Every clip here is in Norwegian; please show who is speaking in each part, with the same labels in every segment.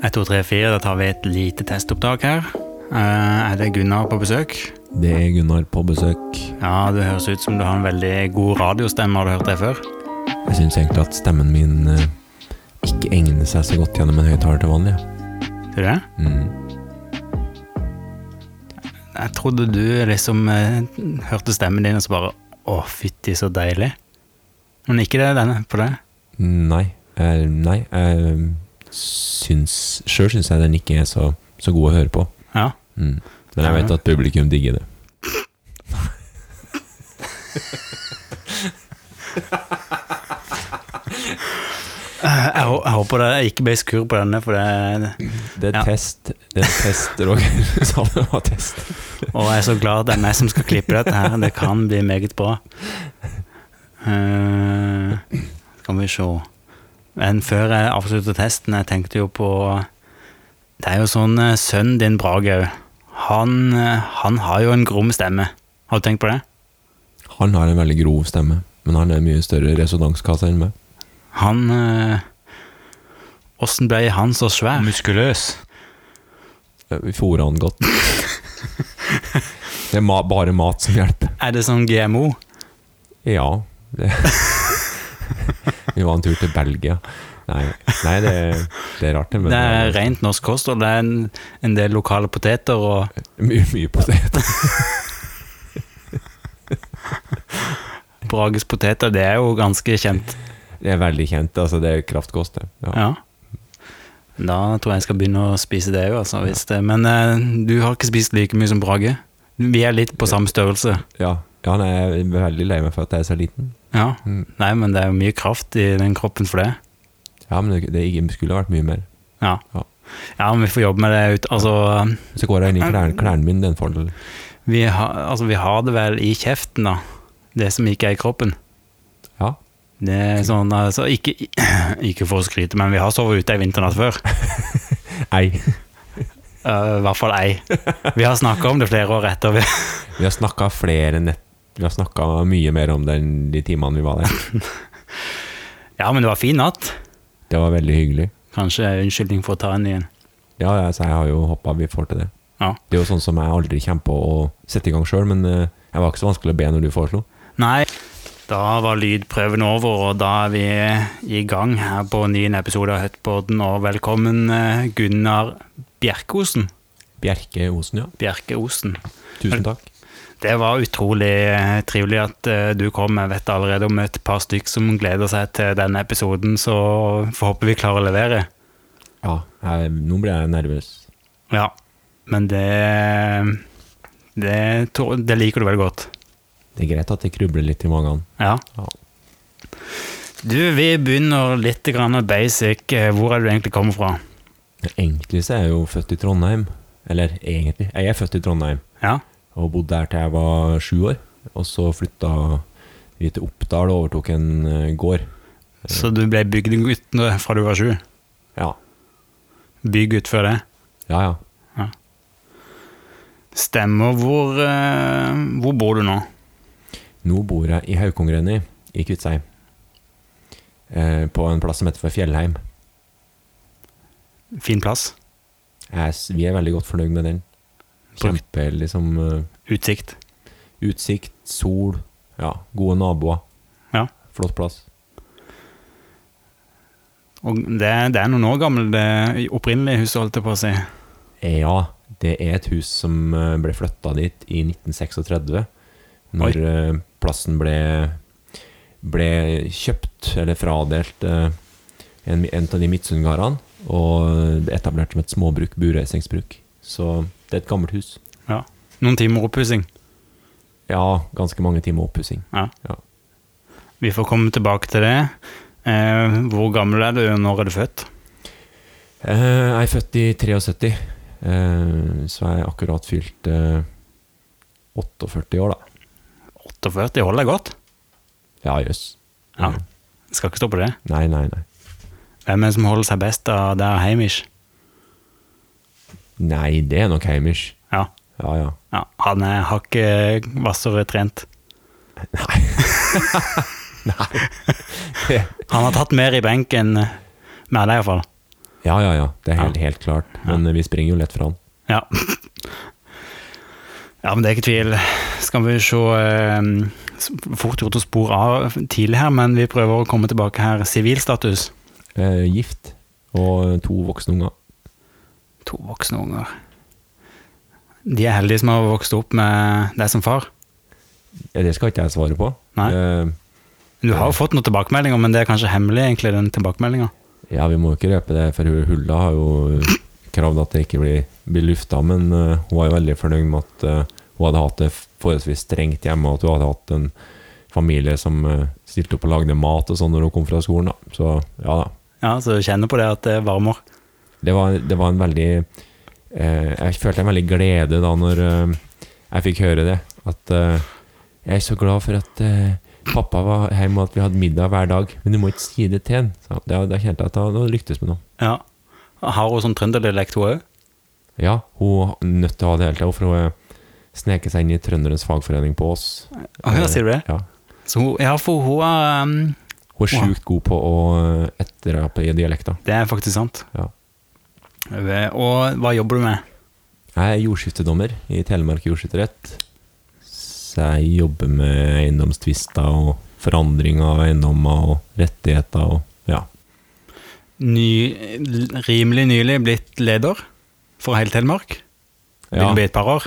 Speaker 1: 1, 2, 3, 4. Da tar vi et lite testopptak her. Eh, er det Gunnar på besøk?
Speaker 2: Det er Gunnar på besøk.
Speaker 1: Ja, det høres ut som du har en veldig god radiostemme. Har du hørt det før?
Speaker 2: Jeg syns egentlig at stemmen min eh, ikke egner seg så godt gjennom en høyttaler til vanlig.
Speaker 1: Tror
Speaker 2: jeg.
Speaker 1: du det?
Speaker 2: Mm.
Speaker 1: Jeg trodde du liksom eh, hørte stemmen din og så bare Å, fytti, så deilig. Men ikke det denne på det.
Speaker 2: Nei. Jeg, nei. Jeg syns Sjøl syns jeg den ikke er så, så god å høre på.
Speaker 1: Ja.
Speaker 2: Mm. Men jeg vet at publikum digger det.
Speaker 1: Eh, Jeg, hå- jeg håper det ikke ble skurr på denne, for det
Speaker 2: Det er
Speaker 1: Ja.
Speaker 2: test. Det er test, Roger. Du sa det var test.
Speaker 1: Og jeg er så glad at det er meg som skal klippe dette her. Det kan bli meget bra. Eh, skal vi se. Men før jeg avslutter testen, jeg tenkte jo på Det er jo sånn eh, sønnen din, Brage òg. Han, eh, han har jo en grom stemme. Har du tenkt på det?
Speaker 2: Han har en veldig grov stemme, men han er en mye større resonanskasse enn meg.
Speaker 1: Han eh, Åssen ble han så svær? Muskuløs.
Speaker 2: Vi fôrer han godt. Det er ma bare mat som hjelper.
Speaker 1: Er det sånn GMO?
Speaker 2: Ja. Det. Vi var en tur til Belgia. Nei, nei det, det er rart, det. Men
Speaker 1: det er rent norsk kost, og det er en, en del lokale poteter og
Speaker 2: mye, mye potet.
Speaker 1: Brages poteter. Det er jo ganske kjent.
Speaker 2: Det er veldig kjent. Altså, det er kraftkost, det. Ja.
Speaker 1: Ja. Da tror jeg jeg skal begynne å spise det òg, altså. Hvis det, men eh, du har ikke spist like mye som Brage. Vi er litt på samme størrelse.
Speaker 2: Ja. ja, nei, jeg er veldig lei meg for at jeg er så liten.
Speaker 1: Ja.
Speaker 2: Mm.
Speaker 1: Nei, men det er jo mye kraft i den kroppen for det.
Speaker 2: Ja, men det, det skulle vært mye mer.
Speaker 1: Ja.
Speaker 2: Ja.
Speaker 1: Ja, men vi får jobbe med det ut. Altså,
Speaker 2: Så går jeg inn i klærne, klærne mine, det er en fordel.
Speaker 1: vi, har- altså, vi har det vel i kjeften, da. Det som ikke er i kroppen.
Speaker 2: Ja.
Speaker 1: Det er sånn, altså, ikke, ikke for å skryte, men vi har sovet ute ei vinternatt før.
Speaker 2: Ei.
Speaker 1: Eh, I hvert fall ei. Vi har snakka om det flere år etter. Vi,
Speaker 2: Vi har snakka flere nett... Vi har snakka mye mer om det enn de timene vi var der.
Speaker 1: ja, men det var fin natt.
Speaker 2: Det var veldig hyggelig.
Speaker 1: Kanskje unnskyldning for å ta en ny en.
Speaker 2: Ja, ja, så jeg har jo hoppa, vi får til det.
Speaker 1: Ja.
Speaker 2: Det er jo sånn som jeg aldri kommer på å sette i gang sjøl, men eh, jeg var ikke så vanskelig å be når du foreslo.
Speaker 1: Nei, da var lydprøven over, og da er vi i gang her på ny en episode av Hutpodden. Og velkommen, eh, Gunnar Bjerkeosen.
Speaker 2: Bjerke Osen, ja.
Speaker 1: Bjerkeosen.
Speaker 2: Tusen takk.
Speaker 1: Det var utrolig eh, trivelig at eh, du kom. Jeg vet allerede om et par stykk som gleder seg til denne episoden, så får håpe vi klarer å levere.
Speaker 2: Ja, jeg, nå ble jeg nervøs.
Speaker 1: Ja, men det det, tror- det liker du veldig godt.
Speaker 2: Det er greit at det krubler litt i magen.
Speaker 1: Ja.
Speaker 2: Ja.
Speaker 1: Du, vi begynner litt grann basic. Eh, Hvor er du egentlig kommer fra?
Speaker 2: Men Egentlig så er jeg jo født i Trondheim. Eller egentlig, jeg er født i Trondheim
Speaker 1: Ja,
Speaker 2: og bodde der til jeg var sju år. Og så flytta vi til Oppdal og overtok en eh, gård.
Speaker 1: Så du ble bygdegutt nå fra du var sju?
Speaker 2: Ja,
Speaker 1: Bygutt før det?
Speaker 2: ja. ja.
Speaker 1: Stemmer. Hvor, eh, hvor bor du nå?
Speaker 2: Nå bor jeg i Haukongrenni i Kviteseid. Eh, på en plass som heter for Fjellheim.
Speaker 1: Fin plass?
Speaker 2: Jeg, s- vi er veldig godt fornøyd med den.
Speaker 1: Brukt.
Speaker 2: Kjempe liksom eh,
Speaker 1: Utsikt?
Speaker 2: utsikt, sol, ja, gode naboer.
Speaker 1: Ja.
Speaker 2: Flott plass.
Speaker 1: Og det, det er noen år gammel, det opprinnelige huset, holdt jeg på å si.
Speaker 2: Eh, Ja, det er et hus som eh, ble flytta dit i 1936, når eh, plassen ble, ble kjøpt, eller fradelt, eh, en, en av de Midtsundgardene, og det er etablert som et småbruk, bureisingsbruk. Så det er et gammelt hus.
Speaker 1: Ja. Noen timer oppussing.
Speaker 2: Ja, ganske mange timer oppussing.
Speaker 1: Ja.
Speaker 2: Ja.
Speaker 1: Vi får komme tilbake til det. Eh, hvor gammel er du, og når er du født?
Speaker 2: Eh, jeg er født i 73, eh, så jeg er akkurat fylt eh, 48 år, da.
Speaker 1: 48 holder deg godt.
Speaker 2: Ja, jøss.
Speaker 1: Ja. Skal ikke stå på det.
Speaker 2: Nei, nei, nei.
Speaker 1: Hvem er det som holder seg best av der Heimish?
Speaker 2: Nei, det er nok Heimers.
Speaker 1: Ja.
Speaker 2: Ja, ja.
Speaker 1: ja. Han er hakket hvassere trent.
Speaker 2: Nei. nei.
Speaker 1: Han har tatt mer i benken med deg, iallfall.
Speaker 2: Ja, ja, ja. Det er helt, helt klart. Men eh, vi springer jo lett fra han.
Speaker 1: Ja. ja, men det er ikke tvil. Skal vi se eh, Fort gjort å spore av tidlig her, men vi prøver å komme tilbake her. Sivilstatus.
Speaker 2: Eh, gift og eh, to voksne unger.
Speaker 1: To voksne unger. De er heldige som har vokst opp med deg som far.
Speaker 2: Eh, Det skal ikke jeg svare på.
Speaker 1: Nei.
Speaker 2: Eh,
Speaker 1: Du har jo fått noen tilbakemeldinger, men det er kanskje hemmelig, egentlig, den tilbakemeldinga.
Speaker 2: ja, vi må jo ikke røpe det, for hun- Hulda har jo kravd at det ikke blir, blir lufta, men eh, hun var jo veldig fornøyd med at eh, hun hadde hatt det forholdsvis strengt hjemme, og at hun hadde hatt en familie som eh, stilte opp og lagde mat og sånn når hun kom fra skolen. Da. Så ja da.
Speaker 1: Ja, så jeg kjenner på det at det varmer.
Speaker 2: Det var, det var en veldig eh, Jeg følte en veldig glede da når eh, jeg fikk høre det. At eh, jeg er så glad for at eh, pappa var hjemme og at vi hadde middag hver dag. Men du må ikke si det til ham. Da, da kjente jeg at da, da lyktes vi nå.
Speaker 1: Ja. Har hun sånn trønderdialekt, hun òg?
Speaker 2: Ja, hun er nødt til å ha det hele tida, for hun eh, sneker seg inn i Trønderens fagforening på oss.
Speaker 1: Å, Ja, sier du det?
Speaker 2: Ja.
Speaker 1: Så hun, ja, for hun er ehm,
Speaker 2: Hun er sjukt god på å eh, etterape i dialekter.
Speaker 1: Det er faktisk sant. Eh,
Speaker 2: Ja.
Speaker 1: Og hva jobber du med?
Speaker 2: Jeg er jordskiftedommer i Telemark jordskifterett. Så jeg jobber med eiendomstvister og forandring av eiendommer og rettigheter og ja.
Speaker 1: ny, l- rimelig nylig blitt leder for hele Telemark. Det
Speaker 2: ja.
Speaker 1: kan bli et par år.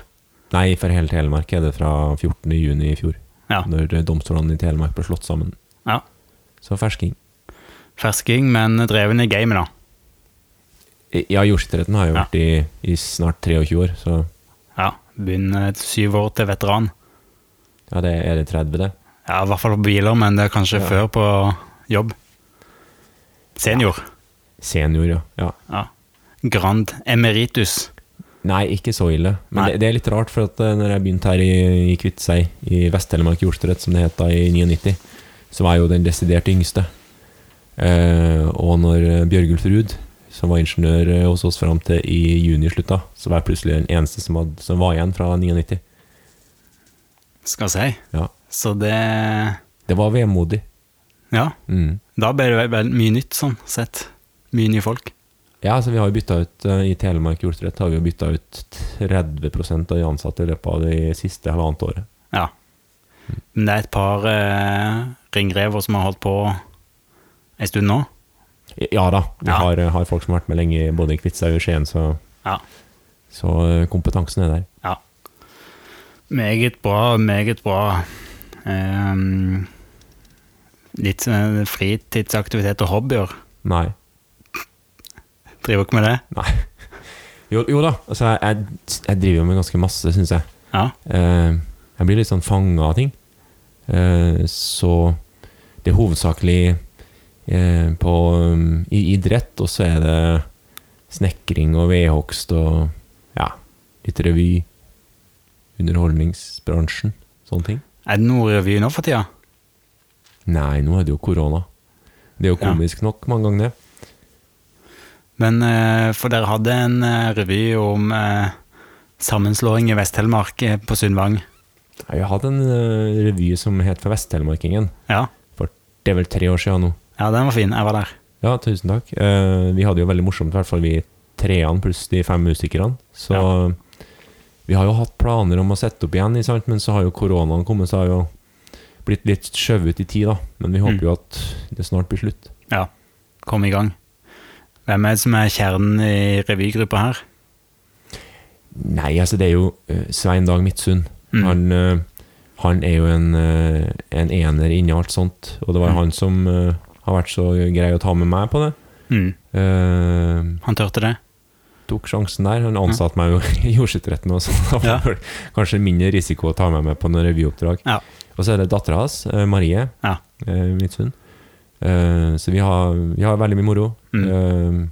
Speaker 2: Nei, for hele Telemark er det fra 14. juni i fjor,
Speaker 1: Ja.
Speaker 2: når eh, domstolene i Telemark ble slått sammen.
Speaker 1: ja.
Speaker 2: Så fersking.
Speaker 1: Fersking, men dreven i gamet, da.
Speaker 2: Ja, jordskifteretten har jo
Speaker 1: Ja.
Speaker 2: vært i, i snart 23 år, så
Speaker 1: Ja. Begynner et syv år til veteran.
Speaker 2: ja, det er det 30, det.
Speaker 1: Ja, I hvert fall på biler, men det er kanskje før på jobb. Senior.
Speaker 2: Senior, ja. ja.
Speaker 1: Ja. Grand emeritus.
Speaker 2: Nei, ikke så ille. Men
Speaker 1: Nei.
Speaker 2: det, det er litt rart, for at eh, når jeg begynte her i, i Kviteseid, i Vest-Telemark jordstørrett, som det het da i 99, så var jeg jo den desidert yngste. Eh, og når eh, Bjørgulf Ruud, som var ingeniør eh, hos oss fram til i juni slutta, så var jeg plutselig den eneste som, hadde, som var igjen fra 99.
Speaker 1: Skal si.
Speaker 2: Ja.
Speaker 1: Så det
Speaker 2: Det var vemodig.
Speaker 1: Ja.
Speaker 2: Mm.
Speaker 1: Da ble det vel- vel mye nytt, sånn sett. Mye nye folk.
Speaker 2: Ja, altså vi har jo bytta ut eh, I Telemark jordstørrett har vi jo bytta ut 30 av de ansatte i løpet av det siste halvannet året.
Speaker 1: Ja. Men det er et par eh, ringrever som har holdt på en stund nå.
Speaker 2: Ja da, vi
Speaker 1: Ja.
Speaker 2: Har, har folk som har vært med lenge både i Kviteseid og i Skien, så
Speaker 1: Ja.
Speaker 2: Så eh, kompetansen er der.
Speaker 1: ja. Meget bra, meget bra. Ehm, litt eh, fritidsaktivitet og hobbyer.
Speaker 2: Nei.
Speaker 1: Driver ikke med det?
Speaker 2: Nei. Jo, jo da, altså jeg, jeg, jeg driver jo med ganske masse, syns jeg.
Speaker 1: Ja.
Speaker 2: Eh, jeg blir litt sånn fanga av ting. Eh, så det er hovedsakelig eh, på, um, i idrett, og så er det snekring og vedhogst og ja, litt revy. Underholdningsbransjen, sånne ting.
Speaker 1: Er det noe revy nå for tida?
Speaker 2: Nei, nå er det jo korona. Det er jo
Speaker 1: Ja.
Speaker 2: komisk nok mange ganger, det.
Speaker 1: Men eh, for dere hadde en eh, revy om eh, sammenslåing i Vest-Telemark eh, på Sundvang.
Speaker 2: Jeg har hatt en eh, revy som het For Vest-Telemarkingen.
Speaker 1: Ja.
Speaker 2: For det er vel tre år siden nå.
Speaker 1: ja, den var fin. Jeg var der.
Speaker 2: Ja, tusen takk. Eh, vi hadde jo veldig morsomt, i hvert fall vi treene pluss de fem musikerne. Så vi har jo hatt planer om å sette opp igjen, ikke sant? men så har jo koronaen kommet, så har jo blitt litt skjøvet ut i tid, da. Men vi håper jo at det snart blir slutt.
Speaker 1: Ja, kom i gang. Hvem er det som er kjernen i revygruppa her?
Speaker 2: Nei, altså det er jo eh, Svein Dag Midtsund.
Speaker 1: Mm.
Speaker 2: Han, eh, han er jo en, eh, en ener inni alt sånt, og det var
Speaker 1: Mm.
Speaker 2: han som eh, har vært så grei å ta med meg på det.
Speaker 1: Mm,
Speaker 2: Eh,
Speaker 1: han tørte det?
Speaker 2: tok sjansen der. Han
Speaker 1: Mm.
Speaker 2: ansatte meg jo i jordskifteretten også, så da var det kanskje mindre risiko å ta meg med på noen revyoppdrag.
Speaker 1: Ja.
Speaker 2: Og så er det dattera hans, eh, Marie
Speaker 1: Ja.
Speaker 2: eh, Midtsund. Eh, Så vi har, vi har veldig mye moro.
Speaker 1: Mm.
Speaker 2: Eh,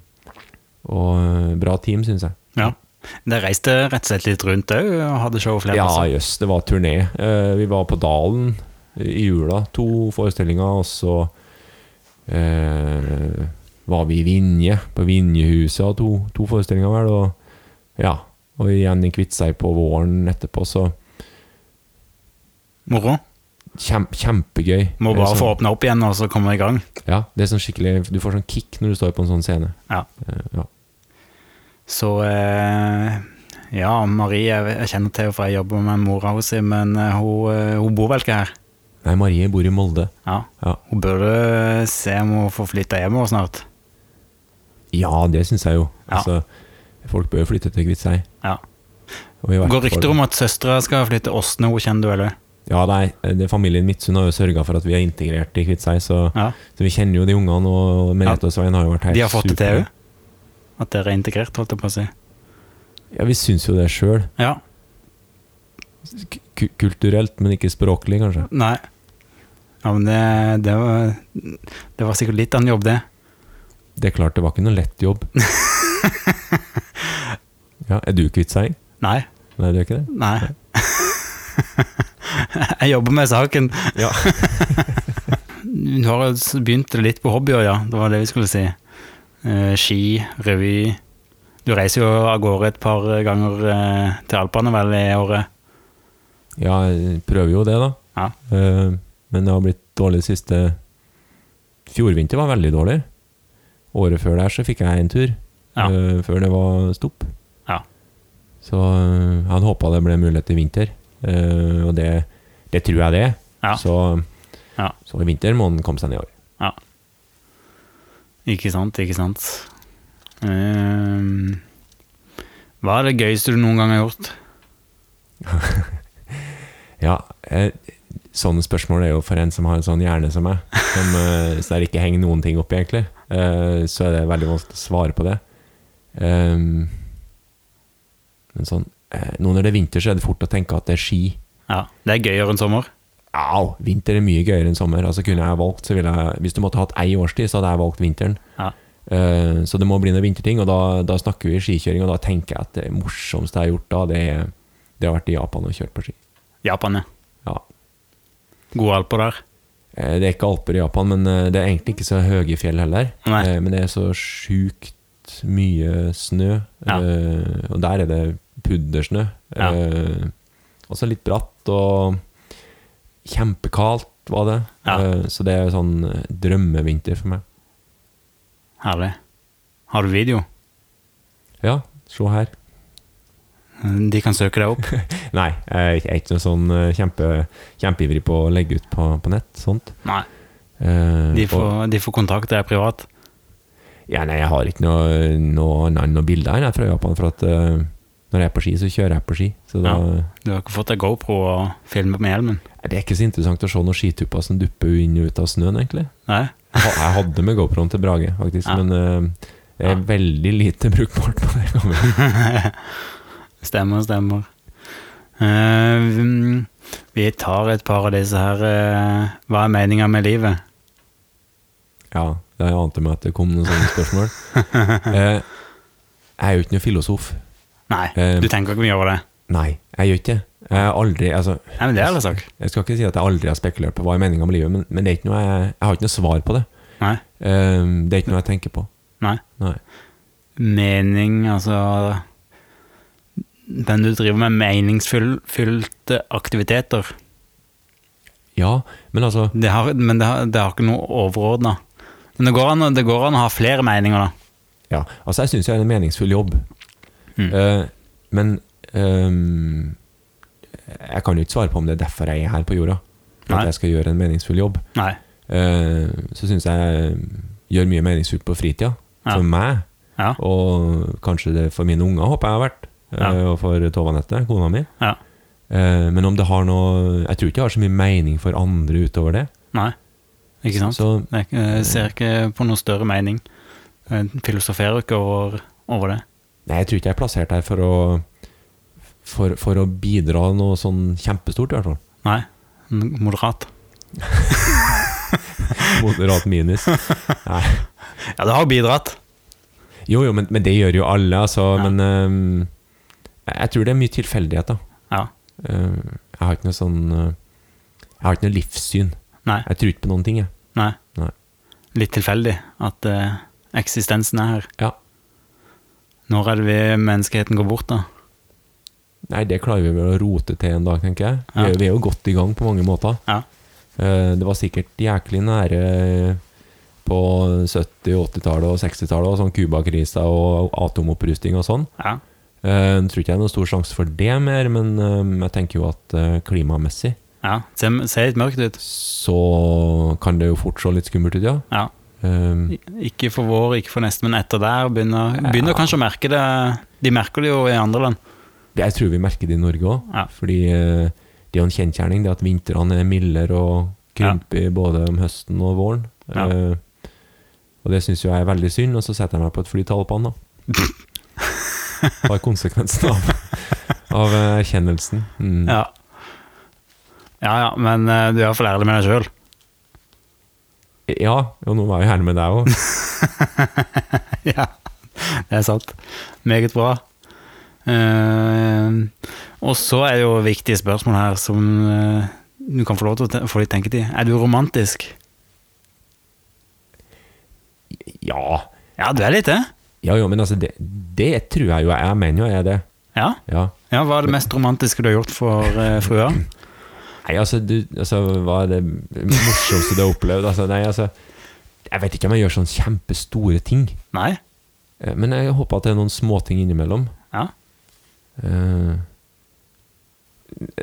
Speaker 2: Og eh, bra team, syns jeg.
Speaker 1: ja. Dere reiste eh, rett og slett litt rundt òg og hadde show flere
Speaker 2: Ja,
Speaker 1: plasser?
Speaker 2: jøss, det var turné. Eh, Vi var på Dalen i jula, to forestillinger, og så eh, var vi i Vinje, på Vinjehuset, og to, to forestillinger vel, og ja, og igjen i Kviteseid på våren etterpå, så
Speaker 1: Moro?
Speaker 2: Kjem, kjempegøy.
Speaker 1: Må
Speaker 2: Det er
Speaker 1: bare
Speaker 2: sånn-
Speaker 1: få åpna opp igjen og så komme i gang.
Speaker 2: Ja, det er sånn skikkelig Du får sånn kick når du står på en sånn scene.
Speaker 1: Ja.
Speaker 2: Eh, ja.
Speaker 1: Så eh, ja, Marie jeg, jeg kjenner til henne, for jeg jobber med mora hennes, men eh, hun, eh, hun bor vel ikke her.
Speaker 2: Nei, Marie bor i Molde.
Speaker 1: Ja.
Speaker 2: Ja,
Speaker 1: Hun burde eh, se om hun får flytta hjemover snart.
Speaker 2: ja det syns jeg jo.
Speaker 1: Ja.
Speaker 2: Altså, folk bør jo flytte til Kviteseid.
Speaker 1: Ja.
Speaker 2: Og i hvert
Speaker 1: Går rykter
Speaker 2: fall-
Speaker 1: om at søstera skal flytte til Åsne, hun kjenner du, eller?
Speaker 2: Ja, nei, eh, det Familien Midtsund har jo sørga for at vi er integrert i Kviteseid, så,
Speaker 1: Ja.
Speaker 2: så vi kjenner jo de ungene. Og Merete og Svein har jo vært helt
Speaker 1: De har fått det til
Speaker 2: super.
Speaker 1: òg? At dere er integrert, holdt jeg på å si.
Speaker 2: Ja, vi syns jo det sjøl.
Speaker 1: Ja.
Speaker 2: Ku- Kulturelt, men ikke språklig, kanskje.
Speaker 1: Nei. Ja, men det, det, var, det var sikkert litt av en jobb, det.
Speaker 2: Det er klart, det var ikke noe lett jobb. ja, Er du kvitseing?
Speaker 1: Nei.
Speaker 2: Nei, du er ikke det?
Speaker 1: Nei. Jeg jobber med saken.
Speaker 2: Ja.
Speaker 1: Du har jo begynt litt på hobbyer, ja. Det var det vi skulle si. Eh, ski, revy. Du reiser jo av gårde et par ganger eh, til Alpene vel i året.
Speaker 2: Ja, jeg prøver jo det, da.
Speaker 1: Ja.
Speaker 2: Eh, Men det har blitt dårlig det siste Fjordvinter var veldig dårlig. Året før der så fikk jeg en tur,
Speaker 1: Ja.
Speaker 2: eh, før det var stopp.
Speaker 1: Ja.
Speaker 2: Så eh, jeg hadde håpa det ble mulighet i vinter, eh, og det, det tror jeg det er.
Speaker 1: Ja.
Speaker 2: Så,
Speaker 1: Ja.
Speaker 2: så i vinter må den komme seg nedover.
Speaker 1: Ikke sant, ikke sant. Eh, hva er det gøyeste du noen gang har gjort?
Speaker 2: Ja, eh, sånne spørsmål er jo for en som har en sånn hjerne som meg, som, eh, så der ikke henger noen ting opp egentlig, eh, så er det veldig vanskelig å svare på det. Ehm, men sånn, eh, nå når det er vinter så er det fort å tenke at det er ski.
Speaker 1: Ja, Det er gøyere enn sommer.
Speaker 2: Au, vinter er mye gøyere enn sommer. Altså kunne jeg valgt, så ville jeg, hvis du måtte hatt ei årstid, så hadde jeg valgt vinteren.
Speaker 1: Ja.
Speaker 2: Eh, så det må bli noen vinterting, og da, da snakker vi skikjøring, og da tenker jeg at det morsomste jeg har gjort da, det, er- det har vært i Japan og kjørt på ski.
Speaker 1: Japan, ja.
Speaker 2: Ja,
Speaker 1: Gode alper der.
Speaker 2: Eh, Det er ikke alper i Japan, men eh, det er egentlig ikke så høye fjell heller.
Speaker 1: Nei.
Speaker 2: Eh, Men det er så sjukt mye snø,
Speaker 1: Ja.
Speaker 2: eh, og der er det puddersnø.
Speaker 1: Ja.
Speaker 2: Eh, Også litt bratt og kjempekaldt var det.
Speaker 1: Ja.
Speaker 2: Eh, Så det er sånn eh, drømmevinter for meg.
Speaker 1: Herlig. Har du video?
Speaker 2: Ja, se her.
Speaker 1: De kan søke deg opp.
Speaker 2: Nei, jeg er ikke- jeg er ikke noe sånn eh, kjempe, kjempeivrig på å legge ut på, på nett. Sånt.
Speaker 1: Nei,
Speaker 2: Eh,
Speaker 1: de
Speaker 2: og-
Speaker 1: får, de får kontakte deg privat.
Speaker 2: Ja, nei, jeg har ikke noe, noe annet enn noen bilder her fra Japan, for at eh, når jeg er på ski, så kjører jeg på ski. Så da,
Speaker 1: Du har ikke fått deg GoPro og filmet med hjelmen?
Speaker 2: Det er ikke så interessant å se noen skitupper som dupper inn og ut av snøen, egentlig.
Speaker 1: Nei?
Speaker 2: Jeg ha- Jeg hadde med GoProen til Brage, faktisk,
Speaker 1: Ja.
Speaker 2: men eh, det er
Speaker 1: Ja.
Speaker 2: veldig lite brukbart på det kameraet.
Speaker 1: Stemmer, stemmer. Eh, vi- vi tar et par av disse her eh, Hva er meninga med livet?
Speaker 2: Ja, det ante meg at det kom noen sånne spørsmål. Eh, jeg er jo ikke noen filosof.
Speaker 1: Nei,
Speaker 2: Eh,
Speaker 1: du tenker ikke mye over det?
Speaker 2: Nei, jeg gjør ikke det. Jeg har aldri, altså,
Speaker 1: Nei, men Det er ærlig sak.
Speaker 2: jeg skal ikke si at jeg aldri har spekulert på hva er meninga med livet, men, men det er ikke noe jeg, jeg har ikke noe svar på det.
Speaker 1: Nei.
Speaker 2: Eh, det er ikke noe jeg tenker på.
Speaker 1: nei.
Speaker 2: Nei.
Speaker 1: Mening, altså Den du driver med meningsfylte aktiviteter.
Speaker 2: Ja, men altså
Speaker 1: Det har, men det har, det har ikke noe overordna. Men det går, an, å- det går an å ha flere meninger, da.
Speaker 2: Ja, altså jeg syns jeg er en meningsfull jobb.
Speaker 1: Mm.
Speaker 2: Eh, men ehm, jeg kan jo ikke svare på om det er derfor jeg er her på jorda. For
Speaker 1: Nei.
Speaker 2: at jeg skal gjøre en meningsfull jobb.
Speaker 1: Nei.
Speaker 2: Eh, så syns jeg eh, gjør mye meningsfullt på fritida.
Speaker 1: Ja.
Speaker 2: For meg,
Speaker 1: Ja.
Speaker 2: og kanskje det for mine unger, håper jeg har vært. eh,
Speaker 1: Ja.
Speaker 2: Og for Tovanette, kona mi.
Speaker 1: ja.
Speaker 2: Eh, men om det har noe Jeg tror ikke jeg har så mye mening for andre utover det.
Speaker 1: Nei. Ikke sant?
Speaker 2: Så
Speaker 1: Det er ikke- Jeg ser ikke på noe større mening. Jeg filosoferer ikke over, over det.
Speaker 2: Nei, jeg tror ikke jeg er plassert her for å For, for å bidra noe sånn kjempestort, i hvert fall.
Speaker 1: Nei. Moderat.
Speaker 2: Moderat minus. Nei.
Speaker 1: Ja, det har bidratt.
Speaker 2: Jo, jo, men, men det gjør jo alle, altså.
Speaker 1: Ja.
Speaker 2: Men ehm, jeg jeg tror det er mye tilfeldighet, da.
Speaker 1: Ja.
Speaker 2: Eh, jeg har ikke noe sånn eh, Jeg har ikke noe livssyn.
Speaker 1: Nei.
Speaker 2: Jeg tror ikke på noen ting, jeg.
Speaker 1: Nei.
Speaker 2: Nei.
Speaker 1: Litt tilfeldig at eh, eksistensen er her.
Speaker 2: Ja.
Speaker 1: Når er det vi menneskeheten går bort, da?
Speaker 2: Nei, det klarer vi vel å rote til en dag, tenker jeg. Vi
Speaker 1: Ja.
Speaker 2: er, vi er jo godt i gang på mange måter.
Speaker 1: Ja.
Speaker 2: Eh, Det var sikkert jæklig nære på 70-, 80-tallet og 60-tallet, og sånn Cuba-krisa og atomopprusting og sånn.
Speaker 1: Ja.
Speaker 2: Eh, Jeg tror ikke det er noen stor sjanse for det mer, men eh, jeg tenker jo at eh, klimamessig
Speaker 1: ja. Ser, ser litt mørkt ut.
Speaker 2: så kan det jo fort se litt skummelt ut, ja.
Speaker 1: Ja.
Speaker 2: Eh,
Speaker 1: Ikke for vår, ikke for neste, men etter der begynner, begynner
Speaker 2: Ja.
Speaker 1: kanskje å merke det. De merker det jo i andre land.
Speaker 2: Jeg tror vi merker det i Norge òg,
Speaker 1: Ja.
Speaker 2: fordi eh, det er jo en kjensgjerning det at vintrene er mildere og krymper både om høsten og våren.
Speaker 1: Ja.
Speaker 2: Eh, og det syns jo jeg er veldig synd, og så setter jeg meg på et fly til Alpene, da. Hva er konsekvensen av, av eh, erkjennelsen? Mm.
Speaker 1: Ja. ja ja, men eh, du er iallfall ærlig med deg sjøl.
Speaker 2: Ja, og nå var jeg jo her med deg òg.
Speaker 1: ja, det er sant. Meget bra. Eh, og så er det jo viktige spørsmål her som eh, du kan få lov til å te få litt tenketid. Er du romantisk?
Speaker 2: Ja.
Speaker 1: Ja, du er litt det.
Speaker 2: ja, jo, men altså, det, det tror jeg jo jeg er. Jeg mener jo jeg er det.
Speaker 1: Ja.
Speaker 2: Ja.
Speaker 1: ja, Hva er det mest romantiske du har gjort for eh, frua?
Speaker 2: Nei, altså, du, altså Hva er det morsomste du har opplevd? Altså, nei, altså Jeg vet ikke om jeg gjør sånn kjempestore ting,
Speaker 1: Nei?
Speaker 2: eh, men jeg håper at det er noen småting innimellom.
Speaker 1: Ja.
Speaker 2: Eh,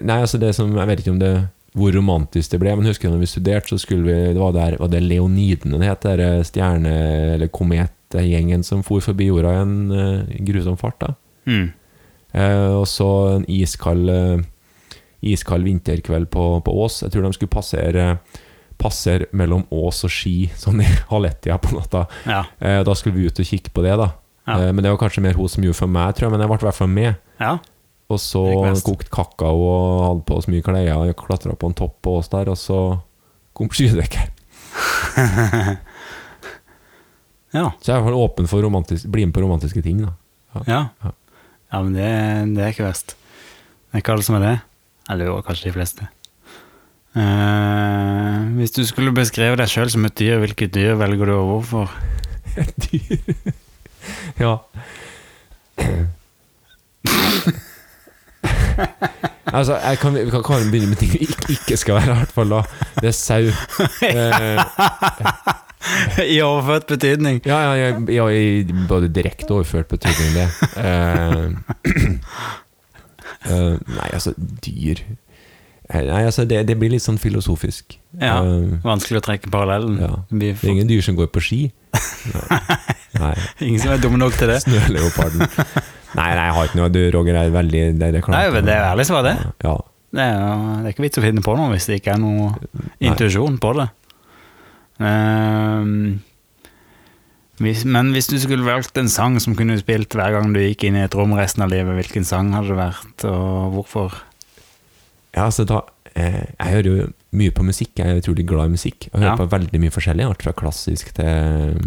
Speaker 2: Nei, altså, det som Jeg vet ikke om det hvor romantisk det ble, men husker jeg når vi studerte, så skulle vi Det var, der, var det Leonidene det het, der eh, stjerne- eller kometgjengen som for forbi jorda i en eh, grusom fart, da.
Speaker 1: Mm.
Speaker 2: Eh, og så en iskald, eh, iskald vinterkveld på, på Ås. Jeg tror de skulle passere, passere mellom Ås og Ski, sånn i halvetida på natta.
Speaker 1: Ja.
Speaker 2: Eh, da skulle vi ut og kikke på det, da.
Speaker 1: Ja.
Speaker 2: Eh, men det var kanskje mer hun som gjorde for meg, tror jeg. Men jeg ble i hvert fall med.
Speaker 1: ja.
Speaker 2: Og så
Speaker 1: Gikk best.
Speaker 2: kokte kakao og hadde på oss mye klær. og Klatra på en topp på Ås der, og så kom skydekker.
Speaker 1: Ja.
Speaker 2: Så jeg er i hvert fall åpen for romantisk, bli med på romantiske ting, da.
Speaker 1: Ja.
Speaker 2: Ja.
Speaker 1: ja, men det, det er ikke verst. Det er ikke alle som er det. Eller jo, kanskje de fleste. Eh, hvis du skulle beskrevet deg sjøl som et dyr, hvilket dyr velger du og hvorfor?
Speaker 2: dyr. ja. altså, jeg kan, vi kan, kan begynne med ting vi ikke, ikke skal være, i hvert fall da. Det er sau. Eh,
Speaker 1: I overført betydning.
Speaker 2: ja, ja, ja, ja, i både direkte og overført betydning, det. Eh, eh, nei, altså, dyr Eh, Nei, altså, det, det blir litt sånn filosofisk.
Speaker 1: Ja.
Speaker 2: Eh,
Speaker 1: Vanskelig å trekke parallellen.
Speaker 2: Ja.
Speaker 1: Vi
Speaker 2: det er
Speaker 1: får,
Speaker 2: ingen dyr som går på ski. Nei.
Speaker 1: ingen som er dumme nok til det.
Speaker 2: Snøleoparden. Nei, nei, jeg har ikke noe. Du, Roger, er veldig Det, det
Speaker 1: Nei, men det er jo ærlig svar, det.
Speaker 2: Ja.
Speaker 1: Det er, jo- det er ikke vits å finne på noe hvis det ikke er noe
Speaker 2: Nei.
Speaker 1: intuisjon på det. Ehm, hvis, men hvis du skulle valgt en sang som kunne du spilt hver gang du gikk inn i et rom resten av livet, hvilken sang hadde det vært, og hvorfor?
Speaker 2: ja, altså da eh, Jeg hører jo mye på musikk. Jeg er utrolig glad i musikk. Og hører
Speaker 1: Ja.
Speaker 2: på veldig mye forskjellig. Alt fra klassisk til,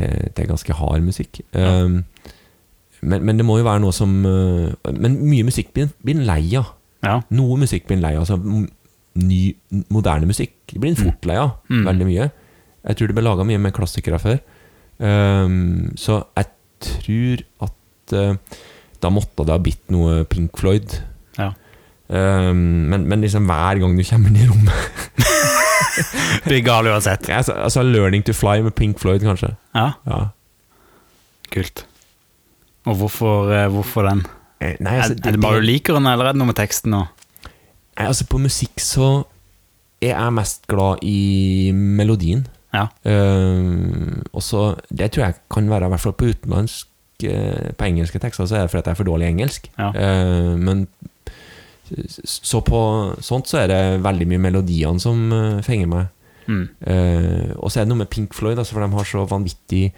Speaker 2: til, til ganske hard musikk. Um, men, men det må jo være noe som eh, Men mye musikk blir blir en lei av.
Speaker 1: Ja.
Speaker 2: Noe musikk blir en lei av. Altså, m- ny, moderne musikk blir en fort lei av.
Speaker 1: Mm.
Speaker 2: Veldig mye. Jeg tror det ble laga mye med klassikere før. Ehm, så jeg tror at eh, da måtte det ha blitt noe Pink Floyd.
Speaker 1: Ja.
Speaker 2: Ehm, men, men liksom hver gang du kommer inn i rommet
Speaker 1: Blir gal uansett.
Speaker 2: altså, altså 'Learning to Fly' med Pink Floyd, kanskje.
Speaker 1: Ja,
Speaker 2: Ja.
Speaker 1: kult. Og hvorfor, eh, hvorfor den?
Speaker 2: Eh, Nei,
Speaker 1: Er,
Speaker 2: altså,
Speaker 1: er det bare du liker den, eller er det noe med teksten nå?
Speaker 2: Nei, altså På musikk så er jeg mest glad i melodien.
Speaker 1: Ja.
Speaker 2: Ehm, og så, Det tror jeg kan være i hvert fall på utenlandsk eh, På engelske tekster så er det fordi at jeg er for dårlig i engelsk.
Speaker 1: Ja.
Speaker 2: Ehm, men s- så på sånt så er det veldig mye melodiene som eh, fenger meg.
Speaker 1: Mm.
Speaker 2: Eh, og så er det noe med Pink Floyd, altså, for de har så vanvittig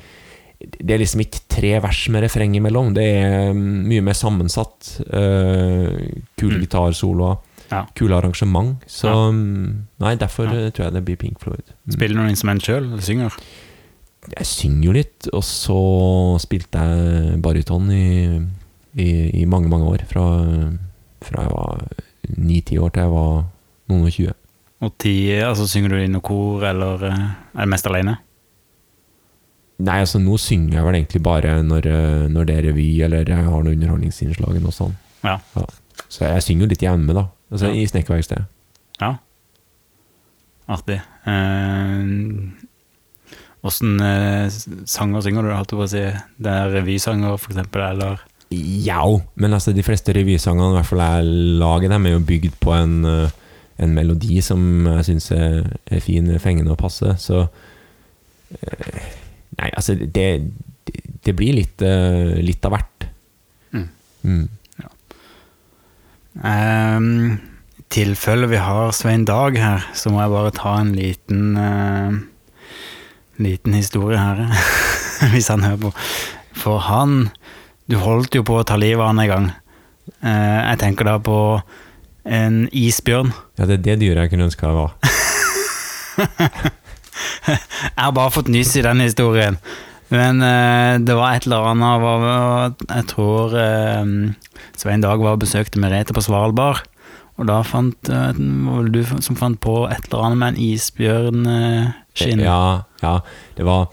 Speaker 2: Det er liksom ikke tre vers med refreng imellom. Det er mm, mye mer sammensatt. Eh, kule
Speaker 1: Mm.
Speaker 2: gitarsoloer.
Speaker 1: Ja.
Speaker 2: Kule arrangement. Så
Speaker 1: Ja.
Speaker 2: mm, Nei, derfor
Speaker 1: Ja.
Speaker 2: eh, tror jeg det blir Pink Floyd. Mm.
Speaker 1: Spiller du noen instrument sjøl, eller synger?
Speaker 2: Jeg synger jo litt, og så spilte jeg baryton i, i, i mange, mange år. Fra, fra jeg var ni-ti år til jeg var noen og tjue.
Speaker 1: Og ti, altså synger du i noe kor, eller eh, er det mest alene?
Speaker 2: Nei, altså nå synger jeg vel egentlig bare når, eh, når det er revy, eller jeg har noe underholdningsinnslag eller noe sånt.
Speaker 1: Ja.
Speaker 2: Så jeg synger jo litt hjemme, da. Altså
Speaker 1: Ja.
Speaker 2: i snekkerverkstedet.
Speaker 1: Ja. artig. Eh, Åssen eh, sanger synger du, holdt jeg på å si? Det er revysanger, for eksempel, eller
Speaker 2: Jau, men altså de fleste revysangene, i hvert fall jeg lager dem, er jo bygd på en, eh, en melodi som jeg syns er, er fin, fengende og passe, så eh, Nei, altså, det, det blir litt, eh, litt av hvert.
Speaker 1: Mm.
Speaker 2: Mm.
Speaker 1: Ehm, I tilfelle vi har Svein Dag her, så må jeg bare ta en liten ehm, liten historie her, hvis han hører på. For han Du holdt jo på å ta livet av han en gang. Eh, jeg tenker da på en isbjørn.
Speaker 2: Ja, det er det dyret jeg kunne ønske jeg var.
Speaker 1: Jeg har bare fått nyss i den historien. Men eh, det var et eller annet av- av- Jeg tror eh, Svein Dag var og besøkte Merete på Svalbard. Og da fant eh, var vel du som fant på et eller annet med en isbjørnskinn.
Speaker 2: Ja, ja, det var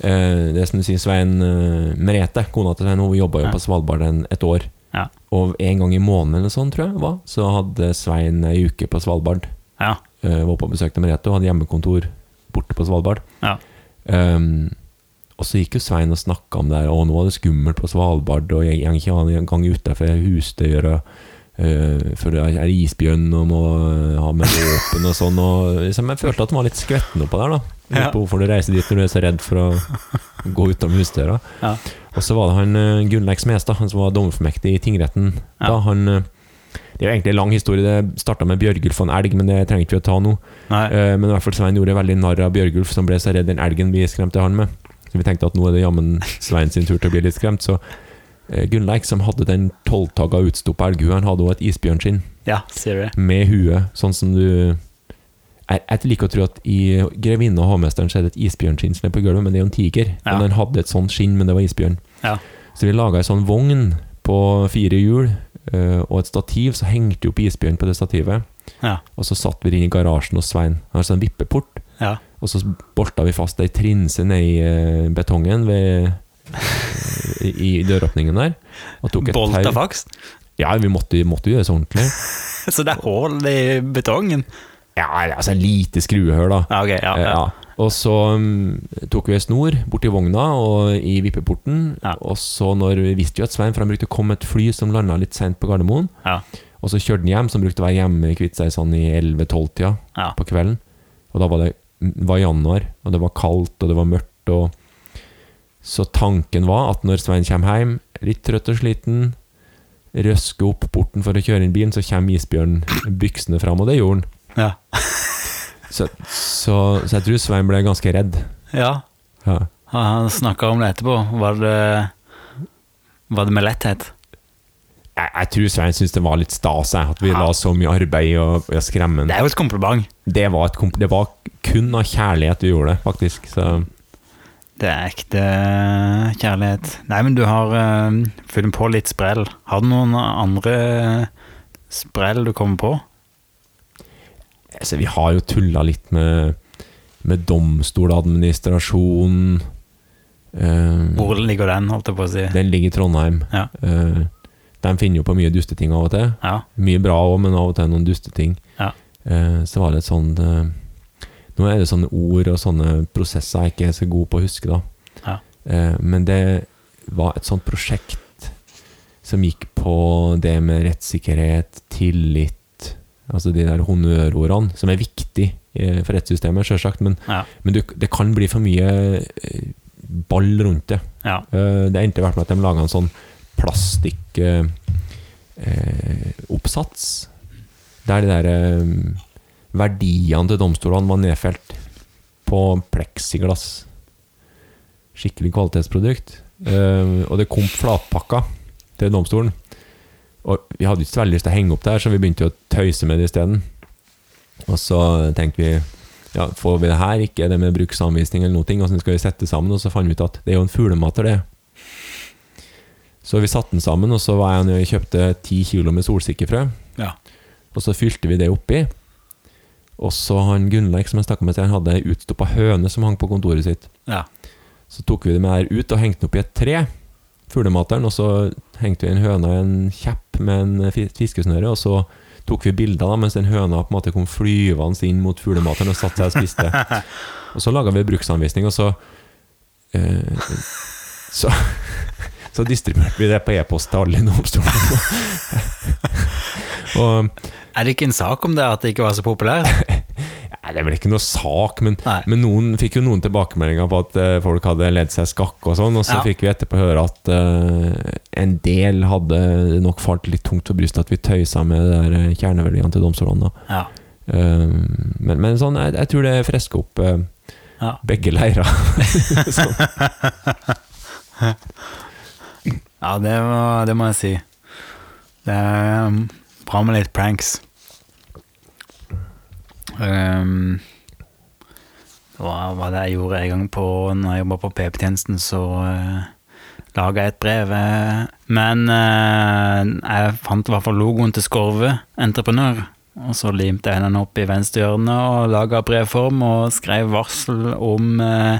Speaker 2: eh, Det som du sier, Svein eh, Merete, kona til Svein, hun jobba jo
Speaker 1: Ja.
Speaker 2: på Svalbard en, et år.
Speaker 1: Ja.
Speaker 2: Og en gang i måneden eller sånn, tror jeg, det var, så hadde Svein ei uke på Svalbard.
Speaker 1: Ja.
Speaker 2: Eh, var oppe og besøkte Merete og hadde hjemmekontor borte på Svalbard.
Speaker 1: ja.
Speaker 2: Ehm, og så gikk jo Svein og snakka om det her, og nå var det skummelt på Svalbard, og jeg gikk ikke en gang utafor husdøra eh, for det er isbjørn og må eh, ha med våpen og sånn. Og liksom, jeg følte at han var litt skvetten oppå der, da.
Speaker 1: Ja.
Speaker 2: Jeg Lurte på hvorfor du reiser dit når du er så redd for å gå utom husdøra.
Speaker 1: Ja.
Speaker 2: Og så var det han eh, Gunnleik Smestad, han som var dommerformektig i tingretten.
Speaker 1: Ja.
Speaker 2: Da han eh, Det er jo egentlig en lang historie, det starta med Bjørgulf og en elg, men det trenger ikke vi å ta nå.
Speaker 1: Nei.
Speaker 2: Eh, Men i hvert fall Svein gjorde veldig narr av Bjørgulf, som ble så redd den elgen vi skremte han med. Så vi tenkte at nå er det jammen Svein sin tur til å bli litt skremt. Så eh, Gunnleik, som hadde den tolvtagga utstoppa elghua, han hadde òg et isbjørnskinn
Speaker 1: Ja, sier du det?
Speaker 2: med huet, sånn som du jeg, jeg liker å tro at i 'Grevinne og hovmesteren' så er det et isbjørnskinn som er på gulvet, men det er jo en tiger.
Speaker 1: Ja.
Speaker 2: Men han hadde et sånt skinn, men det var isbjørn.
Speaker 1: Ja.
Speaker 2: Så vi laga ei sånn vogn på fire hjul eh, og et stativ, så hengte vi opp isbjørn på det stativet.
Speaker 1: Ja.
Speaker 2: Og så satt vi inn i garasjen hos Svein. Han har sånn vippeport.
Speaker 1: ja.
Speaker 2: Og så bolta vi fast ei trinse ned i eh, betongen ved, i, i døråpningen der. Og tok et
Speaker 1: Bolta
Speaker 2: tau.
Speaker 1: faks.
Speaker 2: Ja, vi måtte, måtte gjøre det så ordentlig.
Speaker 1: Så det er hull i betongen.
Speaker 2: Ja, altså et lite skruehull, da.
Speaker 1: Ja, ok. Ja,
Speaker 2: Eh,
Speaker 1: ja.
Speaker 2: ja. Og så mm, tok vi ei snor borti vogna og i vippeporten.
Speaker 1: Ja.
Speaker 2: Og så når vi visste jo at Svein, for han brukte å komme et fly som landa litt seint på Gardermoen.
Speaker 1: ja.
Speaker 2: Og så kjørte han hjem, som brukte å være hjemme i Kviteseid sånn i 11-12-tida
Speaker 1: ja.
Speaker 2: på kvelden. Og da var det mm, var januar, og det var kaldt, og det var mørkt. Og så tanken var at når Svein kommer hjem, litt trøtt og sliten, røsker opp porten for å kjøre inn bilen, så kommer isbjørnen byksende fram, og det gjorde han.
Speaker 1: ja.
Speaker 2: Så, så, så jeg tror Svein ble ganske redd.
Speaker 1: ja.
Speaker 2: Ja.
Speaker 1: Ja, Han snakka om det etterpå. Var det, var det med letthet?
Speaker 2: Jeg, jeg tror Svein syntes det var litt stas jeg, at vi
Speaker 1: Ja.
Speaker 2: la så mye arbeid i å- i å skremme
Speaker 1: Det
Speaker 2: ham.
Speaker 1: er jo et kompliment.
Speaker 2: Det, var et komp- det var kun av kjærlighet vi gjorde det, faktisk. Så
Speaker 1: Det er ekte eh, kjærlighet. Nei, men du har uh, funnet på litt sprell. Har du noen andre sprell du kommer på?
Speaker 2: altså, vi har jo tulla litt med, med domstol og administrasjon. Eh,
Speaker 1: Hvor ligger den, holdt jeg på å si?
Speaker 2: den ligger i Trondheim.
Speaker 1: Ja.
Speaker 2: Eh, de finner jo på mye dusteting av og til.
Speaker 1: Ja.
Speaker 2: Mye bra òg, men av og til noen dusteting.
Speaker 1: Ja.
Speaker 2: Eh, så var det et sånt eh, Nå er det sånne ord og sånne prosesser jeg ikke er så god på å huske, da.
Speaker 1: Ja.
Speaker 2: Eh, men det var et sånt prosjekt som gikk på det med rettssikkerhet, tillit Altså de der honnørordene, som er viktig eh, for rettssystemet, sjølsagt. Men,
Speaker 1: Ja.
Speaker 2: men du, det kan bli for mye eh, ball rundt det.
Speaker 1: ja.
Speaker 2: Eh, Det endte i hvert fall med at de laga en sånn plastikkoppsats. Eh, oppsats, der de der eh, verdiene til domstolene var nedfelt på pleksiglass. Skikkelig kvalitetsprodukt. Eh, og det kom flatpakka til domstolen. Og vi hadde ikke så veldig lyst til å henge opp det her, så vi begynte jo å tøyse med det isteden. Og så tenkte vi ja, får vi det her, ikke det med bruksanvisning eller noe, ting, og så skal vi sette sammen, og så fant vi ut at det er jo en fuglemater, det. Så vi satte den sammen, og så var jeg og jeg kjøpte ti kilo med solsikkefrø,
Speaker 1: ja.
Speaker 2: og så fylte vi det oppi. Og så han Gunnleik, som jeg snakka med, han hadde ei utstoppa høne som hang på kontoret sitt.
Speaker 1: ja.
Speaker 2: Så tok vi det med her ut og hengte den opp i et tre, fuglemateren, og så hengte vi en høne i en kjepp med en fi- fiskesnøre, og så tok vi bilder da, mens den høna på en måte kom flyvende inn mot fuglemateren og satt seg og spiste. Og så laga vi bruksanvisning, og så eh, Så, så distribuerte vi det på e-post til alle i domstolen. og
Speaker 1: Er det ikke en sak om det at det ikke var så populært?
Speaker 2: Nei, det er vel ikke noe sak, men,
Speaker 1: Nei.
Speaker 2: men noen fikk jo noen tilbakemeldinger på at eh, folk hadde ledd seg skakk og sånn, og så
Speaker 1: Ja.
Speaker 2: fikk vi etterpå høre at eh, en del hadde nok falt litt tungt for brystet at vi tøysa med det der eh, kjerneverdiene til domstolene. da.
Speaker 1: Ja.
Speaker 2: Eh, men, men sånn, jeg, jeg tror det fresker opp eh,
Speaker 1: ja.
Speaker 2: begge leirer. sånn.
Speaker 1: ja det, må, det må jeg si. Det er um, bra med litt pranks. Um, hva var det jeg gjorde en gang på når jeg jobba på PP-tjenesten, så uh, laga jeg et brev. eh, Men eh, jeg fant i hvert fall logoen til Skorve entreprenør. Og så limte jeg den opp i venstre hjørne og laga brevform og skrev varsel om eh,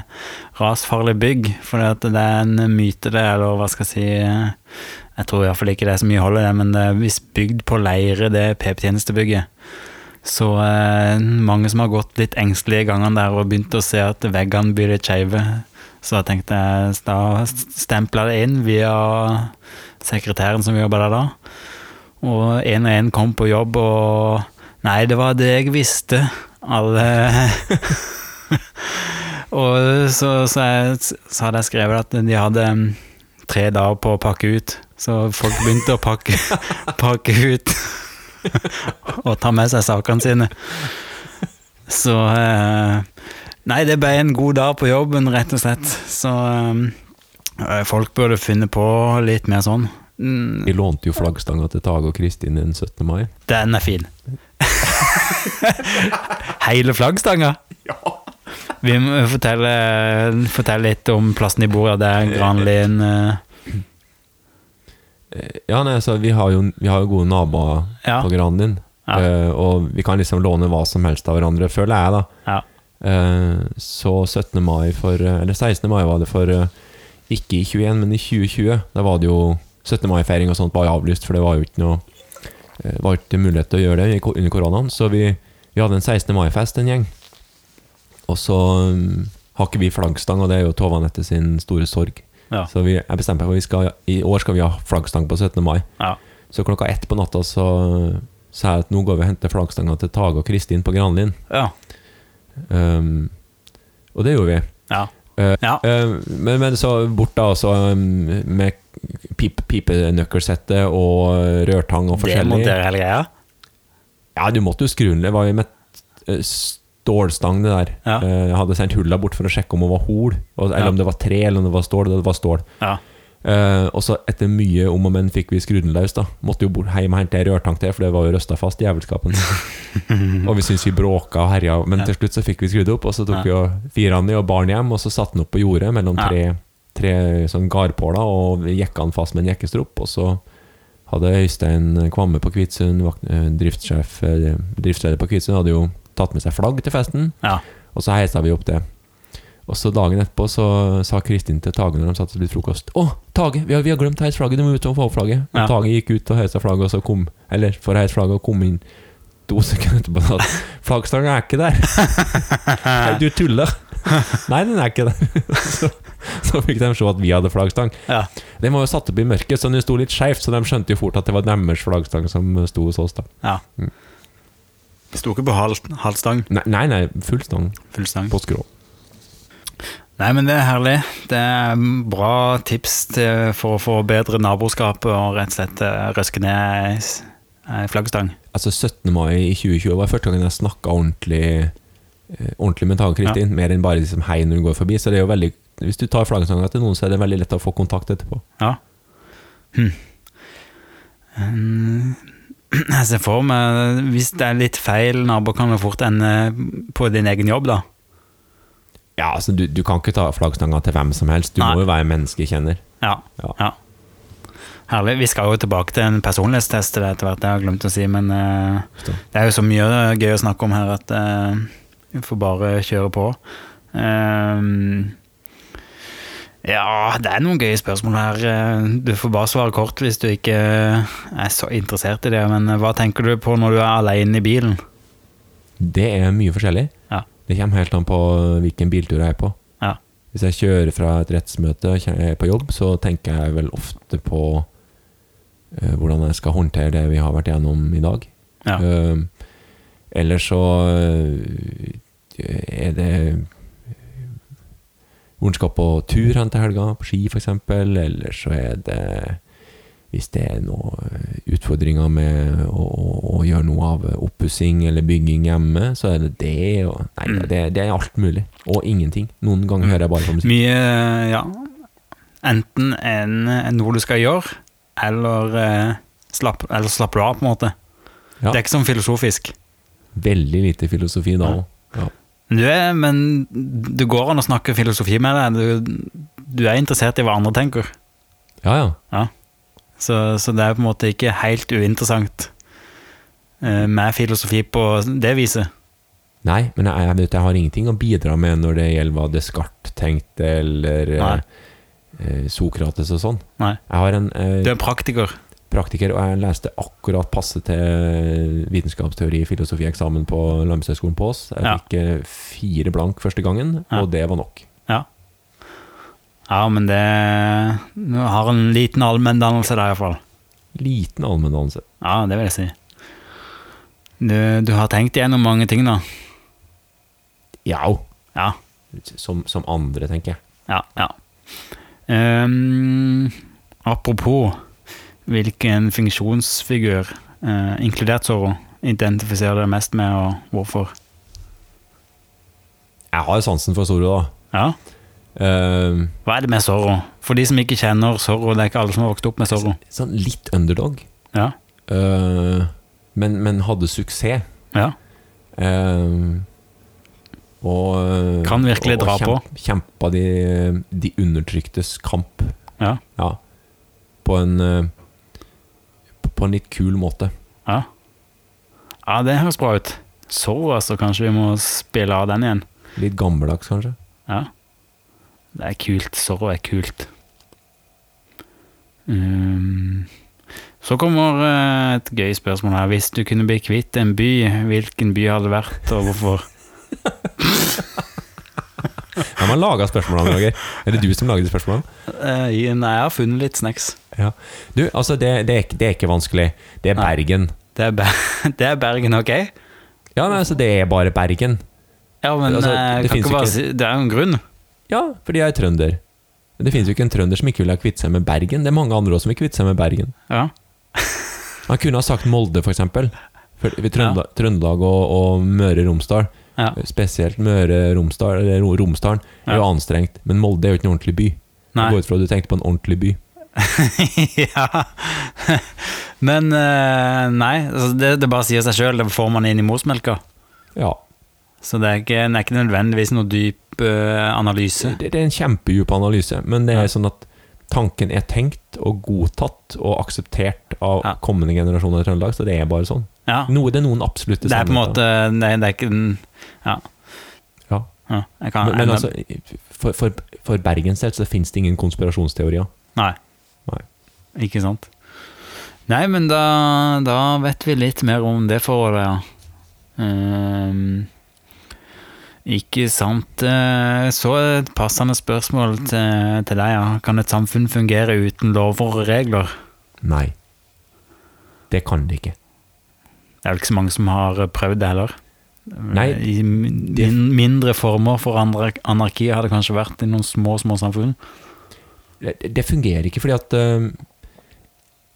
Speaker 1: rasfarlig bygg. For det er en myte, det, eller hva skal jeg si eh, Jeg tror iallfall ikke det er så mye hold i det, men det er visst bygd på leire, det PP-tjenestebygget. Så eh, mange som har gått litt engstelige i gangene der og begynt å se at veggene blir litt skeive. Så da tenkte jeg da stempla det inn via sekretæren som jobba der da. Og én og én kom på jobb, og Nei, det var det jeg visste. Alle Og så, så, jeg, så hadde jeg skrevet at de hadde mm, tre dager på å pakke ut. Så folk begynte å pakke, pakke ut og ta med seg sakene sine. Så eh, Nei, det ble en god dag på jobben, rett og slett. Så eh, folk burde finne på litt mer sånn. Mm,
Speaker 2: Vi lånte jo flaggstanga til Tage og Kristin den 17. mai.
Speaker 1: den er fin. Hele flaggstanga. Vi må fortelle, fortelle litt om plassen de bor i. Det er Granlien eh,
Speaker 2: Eh, Ja, nei, så vi har jo, vi har jo gode naboer
Speaker 1: Ja.
Speaker 2: på granen din,
Speaker 1: Ja.
Speaker 2: eh, og vi kan liksom låne hva som helst av hverandre, føler jeg, da.
Speaker 1: Ja.
Speaker 2: Eh, Så 17. mai for eh, Eller 16. mai var det for eh, Ikke i 21, men i 2020 Da var det jo 17. mai-feiring og sånt var jo avlyst For det var jo ikke noe eh, Var ikke mulighet til å gjøre det i ko- under koronaen Så vi, vi hadde en 16. mai-fest en gjeng Og så mm, har ikke vi flaggstang Og det er jo Tove Anette sin store sorg
Speaker 1: Ja.
Speaker 2: Så vi, jeg bestemte meg for at vi skal, I år skal vi ha flaggstang på 17. mai
Speaker 1: ja.
Speaker 2: Så klokka ett på natta så eh, Sa jeg at nå går vi og henter flaggstanga til Tage og Kristin på Granlin
Speaker 1: Ja.
Speaker 2: Um, og det gjorde vi.
Speaker 1: Ja.
Speaker 2: Eh,
Speaker 1: Ja.
Speaker 2: eh, men, men så bort da, altså um, med pip, pipenøkkelsette og rørtang og
Speaker 1: Det
Speaker 2: forskjellig.
Speaker 1: monterer hele greia.
Speaker 2: Ja, du måtte jo skru den. Det var jo med eh, stålstang, det der.
Speaker 1: Ja.
Speaker 2: Eh, jeg hadde sendt hulla bort for å sjekke om hun var hol, og, eller
Speaker 1: Ja.
Speaker 2: om det var tre, eller om det var stål. Det var stål.
Speaker 1: Ja.
Speaker 2: Eh, og så etter mye om og men fikk vi skrudd den løs. da Måtte jo bort hjem og hente ei rørtang til, for det var jo røsta fast, jævelskapen. og vi syntes vi bråka og herja, men til slutt så fikk vi skrudd opp. Og så tok vi og fira den i og bar den hjem, og så satte den opp på jordet mellom
Speaker 1: Ja.
Speaker 2: tre, tre sånn gardpåler og vi jekka den fast med en jekkestrop. Og så hadde Øystein Kvamme på Kvitsund, vakt- eh, driftssjef, eh, driftsleder på Kvitsund, hadde jo tatt med seg flagg til festen.
Speaker 1: Ja.
Speaker 2: Og så heisa vi opp det. Og så dagen etterpå så sa Kristin til Tage når de satt og spiste frokost Å, Tage, vi har, vi har glemt heis flagget, du må ut og få opp flagget. Og
Speaker 1: Ja.
Speaker 2: Tage gikk ut og heisa flagget, og så kom Eller for å heise flagget og kom inn to sekunder etterpå og sa at flaggstangen er ikke der. Nei, du tuller. Nei, den er ikke der. Så, så fikk de se at vi hadde flaggstang.
Speaker 1: ja.
Speaker 2: Den var jo satt opp i mørket, så den sto litt skeivt, så de skjønte jo fort at det var deres flaggstang som sto hos oss, da.
Speaker 1: ja. Mm. Sto ikke på halv, halv stang.
Speaker 2: Nei, nei, nei full stang
Speaker 1: Full stang.
Speaker 2: på skrå.
Speaker 1: Nei, men det er herlig. Det er bra tips til, for å få bedre naboskap og rett og slett eh, røske ned ei s- ei flaggstang.
Speaker 2: Altså 17. mai i 2020 var første gangen jeg snakka ordentlig eh, Ordentlig med Tage og Kristin. Mer enn bare liksom hei når hun går forbi. Så det er jo veldig Hvis du tar flaggstanga til noen, så er det veldig lett å få kontakt etterpå.
Speaker 1: Ja. Hm. Um, Jeg ser for meg Hvis det er litt feil, nabo kan jo fort ende på din egen jobb, da.
Speaker 2: Ja, altså Du, du kan ikke ta flaggstanga til hvem som helst. Du
Speaker 1: Nei.
Speaker 2: må jo være menneskekjenner.
Speaker 1: Ja.
Speaker 2: Ja.
Speaker 1: ja. Herlig. Vi skal jo tilbake til en personlighetstest til det etter hvert, det har jeg glemt å si, men eh,
Speaker 2: Forstå.
Speaker 1: det er jo så mye gøy å snakke om her at eh, vi får bare kjøre på. Ehm, Eh, Ja, det er noen gøye spørsmål her. Eh, Du får bare svare kort hvis du ikke er så interessert i det. Men eh, hva tenker du på når du er alene i bilen?
Speaker 2: Det er mye forskjellig.
Speaker 1: Ja.
Speaker 2: Det kommer helt an på hvilken biltur jeg er på.
Speaker 1: Ja.
Speaker 2: Hvis jeg kjører fra et rettsmøte og kjører- er på jobb, så tenker jeg vel ofte på eh, hvordan jeg skal håndtere det vi har vært gjennom i dag.
Speaker 1: Ja.
Speaker 2: Eh, Eller så eh, er det Hvor en skal på tur hen til helga, på ski f.eks., eller så er det hvis det er noen utfordringer med å, å, å gjøre noe av oppussing eller bygging hjemme, så er det det. Og, nei,
Speaker 1: Mm.
Speaker 2: det, det er alt mulig. Og ingenting. Noen ganger hører jeg bare på musikk.
Speaker 1: Mye, eh, ja. Enten en, en noe du skal gjøre, eller eh, slapp, eller slapper du av, på en måte.
Speaker 2: Ja.
Speaker 1: Det er ikke sånn filosofisk.
Speaker 2: Veldig lite filosofi da òg. Ja.
Speaker 1: Du er, men du går an å snakke filosofi med deg. Du, du er interessert i hva andre tenker.
Speaker 2: ja, ja.
Speaker 1: Så, så det er på en måte ikke helt uinteressant eh, med filosofi på det viset.
Speaker 2: Nei, men jeg, jeg vet jeg har ingenting å bidra med når det gjelder hva Descartes tenkte, eller eh,
Speaker 1: Nei.
Speaker 2: eh, Sokrates og sånn.
Speaker 1: Nei.
Speaker 2: Jeg har en eh,
Speaker 1: Du er praktiker.
Speaker 2: praktiker, og jeg leste akkurat passe til vitenskapsteori og filosofieksamen på Landbrukshøgskolen på Ås. Jeg
Speaker 1: Ja.
Speaker 2: fikk eh, fire blank første gangen,
Speaker 1: Ja.
Speaker 2: og det var nok.
Speaker 1: Ja. Ja, men det Du har en liten allmenndannelse der, iallfall.
Speaker 2: Liten allmenndannelse.
Speaker 1: Ja, det vil jeg si. Du, du har tenkt igjennom mange ting, da.
Speaker 2: Ja,
Speaker 1: Ja.
Speaker 2: som, som andre, tenker jeg.
Speaker 1: Ja. ja. Ehm, apropos hvilken funksjonsfigur, eh, inkludert Zorro, identifiserer deg mest med, og hvorfor?
Speaker 2: Jeg har sansen for Zoro, da.
Speaker 1: Ja.
Speaker 2: Eh,
Speaker 1: Hva er det med Zorro? For de som ikke kjenner Zorro, det er ikke alle som har vokst opp med Zorro.
Speaker 2: sånn litt underdog,
Speaker 1: Ja,
Speaker 2: eh, men, men hadde suksess.
Speaker 1: ja,
Speaker 2: Eh, og
Speaker 1: Kan virkelig dra på.
Speaker 2: Kjempa de, de undertryktes kamp.
Speaker 1: ja,
Speaker 2: Ja. På en eh, På en litt kul måte.
Speaker 1: ja. Ja, det høres bra ut. Zorro, altså. Kanskje vi må spille av den igjen.
Speaker 2: Litt gammeldags, kanskje.
Speaker 1: Ja. Det er kult. Zorro er kult. Um, så kommer eh, et gøy spørsmål her. Hvis du kunne bli kvitt en by, hvilken by hadde det vært, og hvorfor?
Speaker 2: Hvem har laga spørsmålene, Roger? Er det du som lager de spørsmålene?
Speaker 1: Eh, i- nei, jeg har funnet litt snacks.
Speaker 2: Ja. Du, altså, det, det, er, ikke- det er ikke vanskelig. Det er
Speaker 1: Nei.
Speaker 2: Bergen.
Speaker 1: Det er, Ber- det er Bergen, ok?
Speaker 2: Ja, nei, altså, det er bare Bergen.
Speaker 1: Ja, men
Speaker 2: Altså,
Speaker 1: eh,
Speaker 2: det
Speaker 1: kan
Speaker 2: finnes
Speaker 1: ikke
Speaker 2: ikke-
Speaker 1: bare si, det er jo en grunn.
Speaker 2: Ja, fordi jeg er trønder. Men det finnes jo ikke en trønder som ikke ville ha kvitt seg med Bergen. Det er mange andre også som vil kvitte seg med Bergen.
Speaker 1: Ja.
Speaker 2: Han kunne ha sagt Molde, for eksempel. For ved Trøndelag, Trøndelag og, og Møre og Romsdal,
Speaker 1: ja.
Speaker 2: spesielt Møre og Romsdal, eller Ro- Romsdalen, er jo anstrengt. Men Molde er jo ikke en ordentlig by.
Speaker 1: Nei.
Speaker 2: Jeg går ut fra at du tenkte på en ordentlig by.
Speaker 1: ja. Men eh, nei, altså det, det bare sier seg sjøl. Det får man inn i morsmelka.
Speaker 2: Ja.
Speaker 1: Så det er ikke, det er ikke nødvendigvis noe dyp eh, analyse.
Speaker 2: Det, det er en kjempedyp analyse, men det er sånn at tanken er tenkt og godtatt og akseptert av
Speaker 1: Ja.
Speaker 2: kommende generasjoner i Trøndelag, så det er bare sånn.
Speaker 1: Ja,
Speaker 2: Noe, det er noen absolutte
Speaker 1: det er på en måte
Speaker 2: sannheter.
Speaker 1: Det, det er ikke den Ja.
Speaker 2: Ja.
Speaker 1: ja jeg kan,
Speaker 2: Men, men altså, for, for, for Bergens del så finnes det ingen konspirasjonsteorier.
Speaker 1: Nei.
Speaker 2: Nei.
Speaker 1: Ikke sant. Nei, men da, da vet vi litt mer om det forholdet, ja. Ehm, ikke sant. Eh, Så et passende spørsmål til, til deg, ja. Kan et samfunn fungere uten lover og regler?
Speaker 2: Nei. Det kan det ikke.
Speaker 1: Det er vel ikke så mange som har eh, prøvd det heller. Eh,
Speaker 2: Nei,
Speaker 1: I min- min- mindre former for andre- anarki har det kanskje vært i noen små, små samfunn.
Speaker 2: Det, det fungerer ikke fordi at øhm,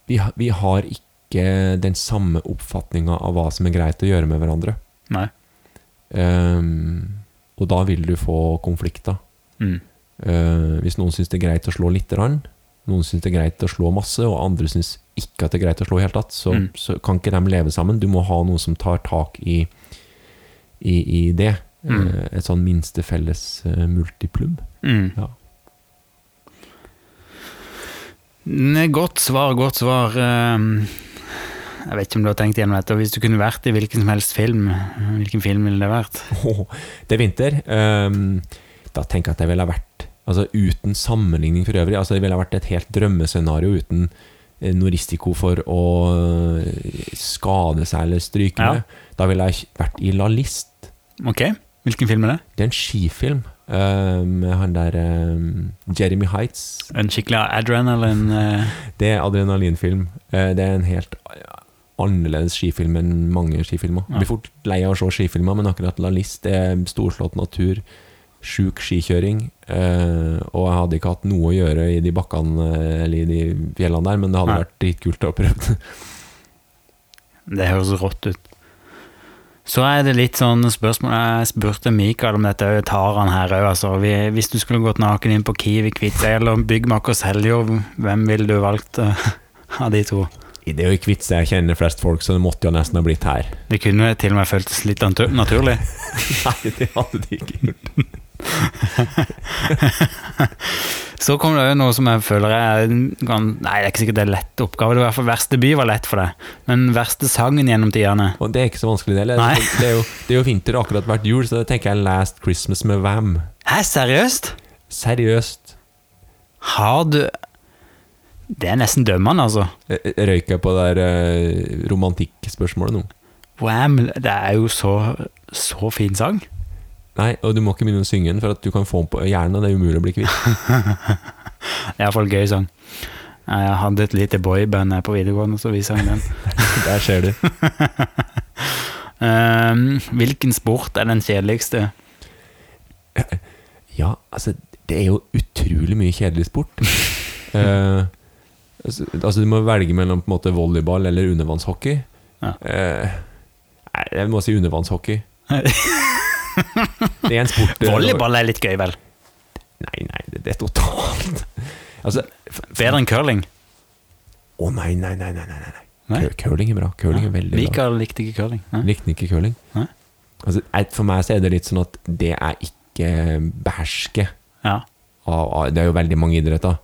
Speaker 2: vi, ha- vi har ikke den samme oppfatninga av hva som er greit å gjøre med hverandre.
Speaker 1: Nei.
Speaker 2: Øhm, og da vil du få konflikter.
Speaker 1: Mm.
Speaker 2: Eh, hvis noen syns det er greit å slå lite grann, noen syns det er greit å slå masse, og andre syns ikke at det er greit å slå i det hele tatt, så,
Speaker 1: Mm.
Speaker 2: så kan ikke de leve sammen. Du må ha noen som tar tak i, i, i det.
Speaker 1: Mm.
Speaker 2: Eh, et sånn minste felles eh, multiplum.
Speaker 1: Mm.
Speaker 2: Ja.
Speaker 1: Ne, Godt svar, godt svar. Ehm, Jeg vet ikke om du har tenkt gjennom dette. og Hvis du kunne vært i hvilken som helst film, hvilken film ville det vært?
Speaker 2: Åh, det er vinter. Ehm, da tenker jeg at jeg ville ha vært Altså uten sammenligning for øvrig. Altså, det ville ha vært et helt drømmescenario uten eh, noe risiko for å eh, skade seg eller stryke
Speaker 1: Ja.
Speaker 2: med. Da ville jeg vært i La List.
Speaker 1: Ok, hvilken film er det?
Speaker 2: Det er en skifilm eh, med han der eh, Jeremy Heights.
Speaker 1: En skikkelig Adrian eller en eh,
Speaker 2: Det er adrenalinfilm. Eh, det er en helt annerledes skifilm enn mange skifilmer.
Speaker 1: Ja.
Speaker 2: Blir fort lei av å se skifilmer, men akkurat La List er storslått natur. Sjuk skikjøring. eh, og jeg hadde ikke hatt noe å gjøre i de bakkene eh, eller i de fjellene der, men det hadde
Speaker 1: Nei.
Speaker 2: vært dritkult å prøve det.
Speaker 1: Det høres rått ut. Så er det litt sånn spørsmål Jeg spurte Mikael om dette, og jeg tar han her òg. Altså, Vi- hvis du skulle gått naken inn på Kiwi, Kviteseid eller Byggmaker Seljord, hvem ville du valgt eh, av de to?
Speaker 2: Det er jo i Kvitse jeg kjenner flest folk, så det måtte jo nesten ha blitt her.
Speaker 1: Det kunne til og med føltes litt natu- naturlig.
Speaker 2: Nei, det hadde de ikke gjort.
Speaker 1: Så kom det jo noe som jeg føler er en gan- Nei, det er ikke sikkert det er lett oppgave. Det var i hvert fall Verste by var lett for deg. Men verste sangen gjennom tidene
Speaker 2: Og det er ikke så vanskelig, det heller.
Speaker 1: Nei.
Speaker 2: Det er jo, det er jo vinter og akkurat vært jul, så da tenker jeg Last Christmas med Vam.
Speaker 1: Hæ, seriøst?
Speaker 2: Seriøst.
Speaker 1: Har du Det er nesten dømmende, altså.
Speaker 2: Eh, Røyker jeg på det der eh, romantikkspørsmålet nå?
Speaker 1: Wham! Det er jo så, så fin sang.
Speaker 2: Nei, og du må ikke begynne å synge den, for at du kan få den på hjernen, og det er umulig å bli kvitt.
Speaker 1: Det er iallfall gøy sang. Jeg hadde et lite boyband her på videregående, så vi sang den.
Speaker 2: Der ser du.
Speaker 1: Ehm, hvilken sport er den kjedeligste?
Speaker 2: Ja, altså, det er jo utrolig mye kjedelig sport. Eh, altså, altså, du må velge mellom på en måte volleyball eller undervannshockey.
Speaker 1: Ja.
Speaker 2: Eh, nei, jeg må si undervannshockey. Det er en sport det-
Speaker 1: Volleyball er litt gøy, vel?
Speaker 2: Nei, nei, det, det er totalt Altså, f- f-
Speaker 1: Bedre enn curling.
Speaker 2: Å nei, nei, nei, nei, nei, nei.
Speaker 1: Nei?
Speaker 2: Cur- Curling er bra. Curling er veldig bra.
Speaker 1: Mikael likte ikke curling. Nei?
Speaker 2: Likte ikke curling.
Speaker 1: Nei.
Speaker 2: Altså, jeg- for meg så er det litt sånn at det jeg ikke behersker
Speaker 1: Ja.
Speaker 2: av, av Det er jo veldig mange idretter.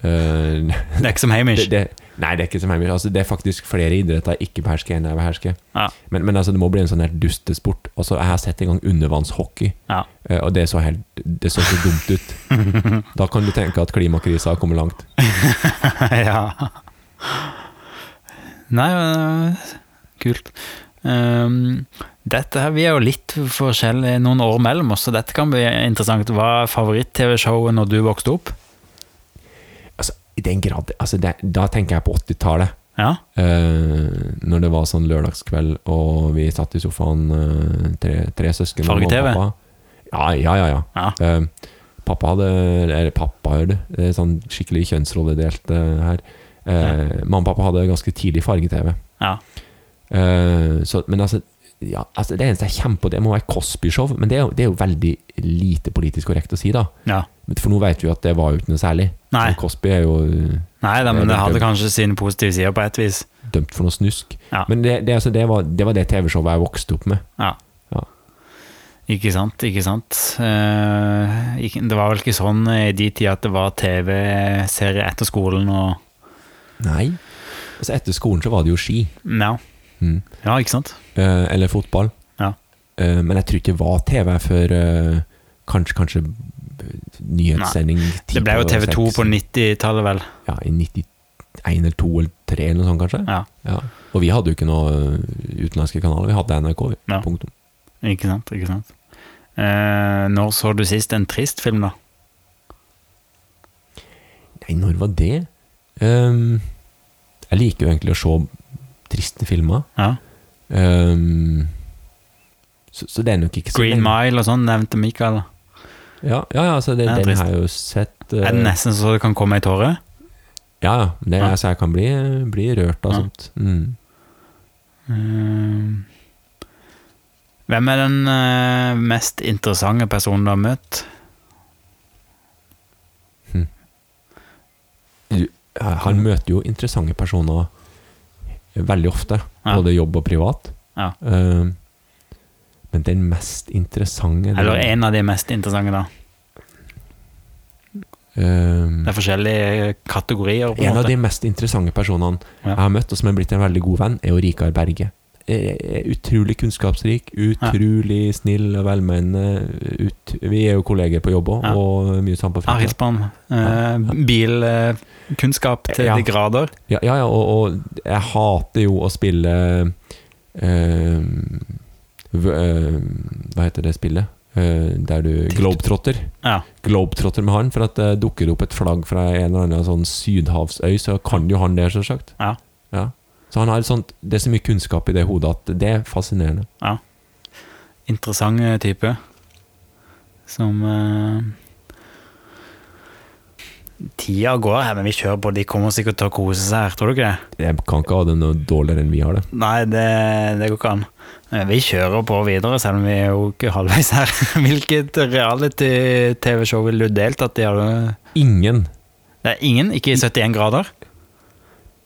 Speaker 2: Eh,
Speaker 1: Det er ikke som Hamish.
Speaker 2: det, det, nei, det er ikke som Heimir. Altså, det er faktisk flere idretter jeg ikke behersker enn jeg behersker.
Speaker 1: Ja.
Speaker 2: Men, men altså, det må bli en sånn her dustesport. Altså, jeg har sett en gang undervannshockey,
Speaker 1: Ja.
Speaker 2: eh, og det så, helt, det så så dumt ut. Da kan du tenke at klimakrisa har kommet langt.
Speaker 1: ja. Nei, men, øh, kult. Ehm, dette her, Vi er jo litt forskjellige noen år mellom oss, så dette kan bli interessant. Hva er favoritt-TV-showet når du vokste opp?
Speaker 2: Altså, I den grad altså, det, Da tenker jeg på 80-tallet.
Speaker 1: Ja,
Speaker 2: Eh, når det var sånn lørdagskveld, og vi satt i sofaen, eh, tre, tre søsken og
Speaker 1: Farge-TV?
Speaker 2: mamma og pappa. Ja, ja, ja. ja. Eh, pappa hadde Eller pappa, hører du. Det er sånn skikkelig kjønnsrolledelt eh, her. Eh, Mamma og pappa hadde ganske tidlig farge-TV.
Speaker 1: ja.
Speaker 2: Eh, så- men altså, ja, altså Det eneste jeg kommer på, det må være Cosby-show. Men det er, jo, det er jo veldig lite politisk korrekt å si, da.
Speaker 1: ja.
Speaker 2: Men For nå vet vi jo at det var jo ikke noe særlig.
Speaker 1: Nei.
Speaker 2: Så Cosby er jo eh,
Speaker 1: Nei da,
Speaker 2: Det er
Speaker 1: men det hadde
Speaker 2: litt-
Speaker 1: kanskje sine positive sider på et vis.
Speaker 2: dømt for noe snusk.
Speaker 1: Ja.
Speaker 2: Men det, det, altså, det, var, det var det TV-showet jeg vokste opp med.
Speaker 1: Ja.
Speaker 2: Ja.
Speaker 1: Ikke sant, ikke sant. Eh, ikke, det var vel ikke sånn i de tider at det var TV-serie etter skolen og
Speaker 2: Nei. Altså, etter skolen så var det jo ski.
Speaker 1: Ja,
Speaker 2: Mm.
Speaker 1: ja ikke sant?
Speaker 2: Eh, eller fotball.
Speaker 1: Ja.
Speaker 2: Eh, men jeg tror ikke det var TV før eh, kanskje, kanskje eh, nyhetssending
Speaker 1: Det ble jo TV2 på 90-tallet, vel.
Speaker 2: Ja, i 91 eller 2 eller 3 eller noe sånt, kanskje.
Speaker 1: Ja.
Speaker 2: Ja. Og vi hadde jo ikke noe eh, utenlandske kanaler. Vi hadde NRK. vi.
Speaker 1: Ja.
Speaker 2: Punktum.
Speaker 1: Ikke sant, ikke sant. Eh, når så du sist en trist film, da?
Speaker 2: Nei, når var det? Ehm, jeg liker jo egentlig å se triste filmer.
Speaker 1: Ja.
Speaker 2: Ehm, så, så det er nok ikke så
Speaker 1: Green
Speaker 2: lenge.
Speaker 1: Mile og sånn, nevnte Mikael.
Speaker 2: Ja, ja, ja altså det,
Speaker 1: Den er
Speaker 2: den
Speaker 1: trist.
Speaker 2: har jeg jo sett eh,
Speaker 1: Er det nesten så det kan komme ei tåre?
Speaker 2: Ja, ja. Det,
Speaker 1: Ja.
Speaker 2: Altså, jeg kan bli, bli rørt av
Speaker 1: Ja.
Speaker 2: sånt. Mm.
Speaker 1: Eh, hvem er den eh, mest interessante personen du har møtt?
Speaker 2: Han møter jo interessante personer veldig ofte,
Speaker 1: Ja.
Speaker 2: både jobb og privat.
Speaker 1: Ja.
Speaker 2: Ehm, men den mest interessante det-
Speaker 1: Eller en av de mest interessante, da.
Speaker 2: Ehm,
Speaker 1: Det er forskjellige kategorier. på
Speaker 2: en av
Speaker 1: måte.
Speaker 2: de mest interessante personene
Speaker 1: Ja.
Speaker 2: jeg har møtt, og som er blitt en veldig god venn, er jo Rikard Berge. er utrolig kunnskapsrik, utrolig snill og velmenende. Ut, vi er jo kolleger på jobb òg,
Speaker 1: Ja.
Speaker 2: og mye sammen på
Speaker 1: Jeg har
Speaker 2: fritida.
Speaker 1: hilst på ham. Eh, Bilkunnskap til
Speaker 2: Ja.
Speaker 1: de grader.
Speaker 2: Ja, ja, ja og, og jeg hater jo å spille eh, v, eh, Hva heter det spillet? Eh, der du Globetrotter.
Speaker 1: Ja.
Speaker 2: Globetrotter med han, for at det dukker opp et flagg fra en eller annen sånn sydhavsøy, så kan jo han det, selvsagt.
Speaker 1: Ja.
Speaker 2: Ja. Så han har et sånt, det er så mye kunnskap i det hodet at det er fascinerende.
Speaker 1: Interessant eh, type. Som eh, Tida går her, men vi kjører på. De kommer sikkert til å kose seg her, tror du ikke det?
Speaker 2: Jeg kan ikke ha det noe dårligere enn vi har det.
Speaker 1: Nei, det, det går ikke an. Eh, Vi kjører på videre, selv om vi er jo ikke halvveis her. Hvilket reality-TV-show ville du deltatt i? har du-
Speaker 2: Ingen
Speaker 1: Det er ingen, ikke i 71 grader.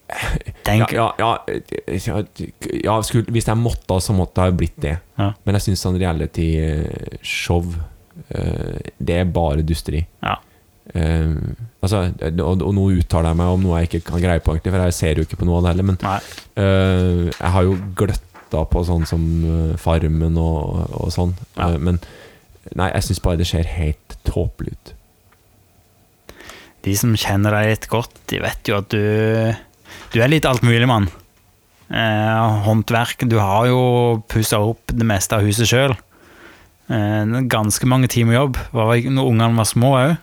Speaker 2: ja,
Speaker 1: Tenk,
Speaker 2: ja, ja, ja, ja, skulle, Hvis jeg måtte, så måtte jeg ha blitt det.
Speaker 1: Ja.
Speaker 2: Men jeg syns sånn reality-show eh, Det er bare dusteri.
Speaker 1: Ja.
Speaker 2: Eh, altså, og, og nå uttaler jeg meg om noe jeg ikke kan greie på, egentlig, for jeg ser jo ikke på noe av det heller. Men
Speaker 1: Nei.
Speaker 2: Eh, jeg har jo gløtta på sånn som eh, Farmen og, og sånn,
Speaker 1: Ja.
Speaker 2: Eh, men nei, jeg syns bare det ser helt tåpelig ut.
Speaker 1: De som kjenner deg litt godt, de vet jo at du Du er litt altmulig, mann. Eh, håndverk Du har jo pussa opp det meste av huset sjøl. Eh, ganske mange timer jobb. Var vel ikke- Når ungene var små òg.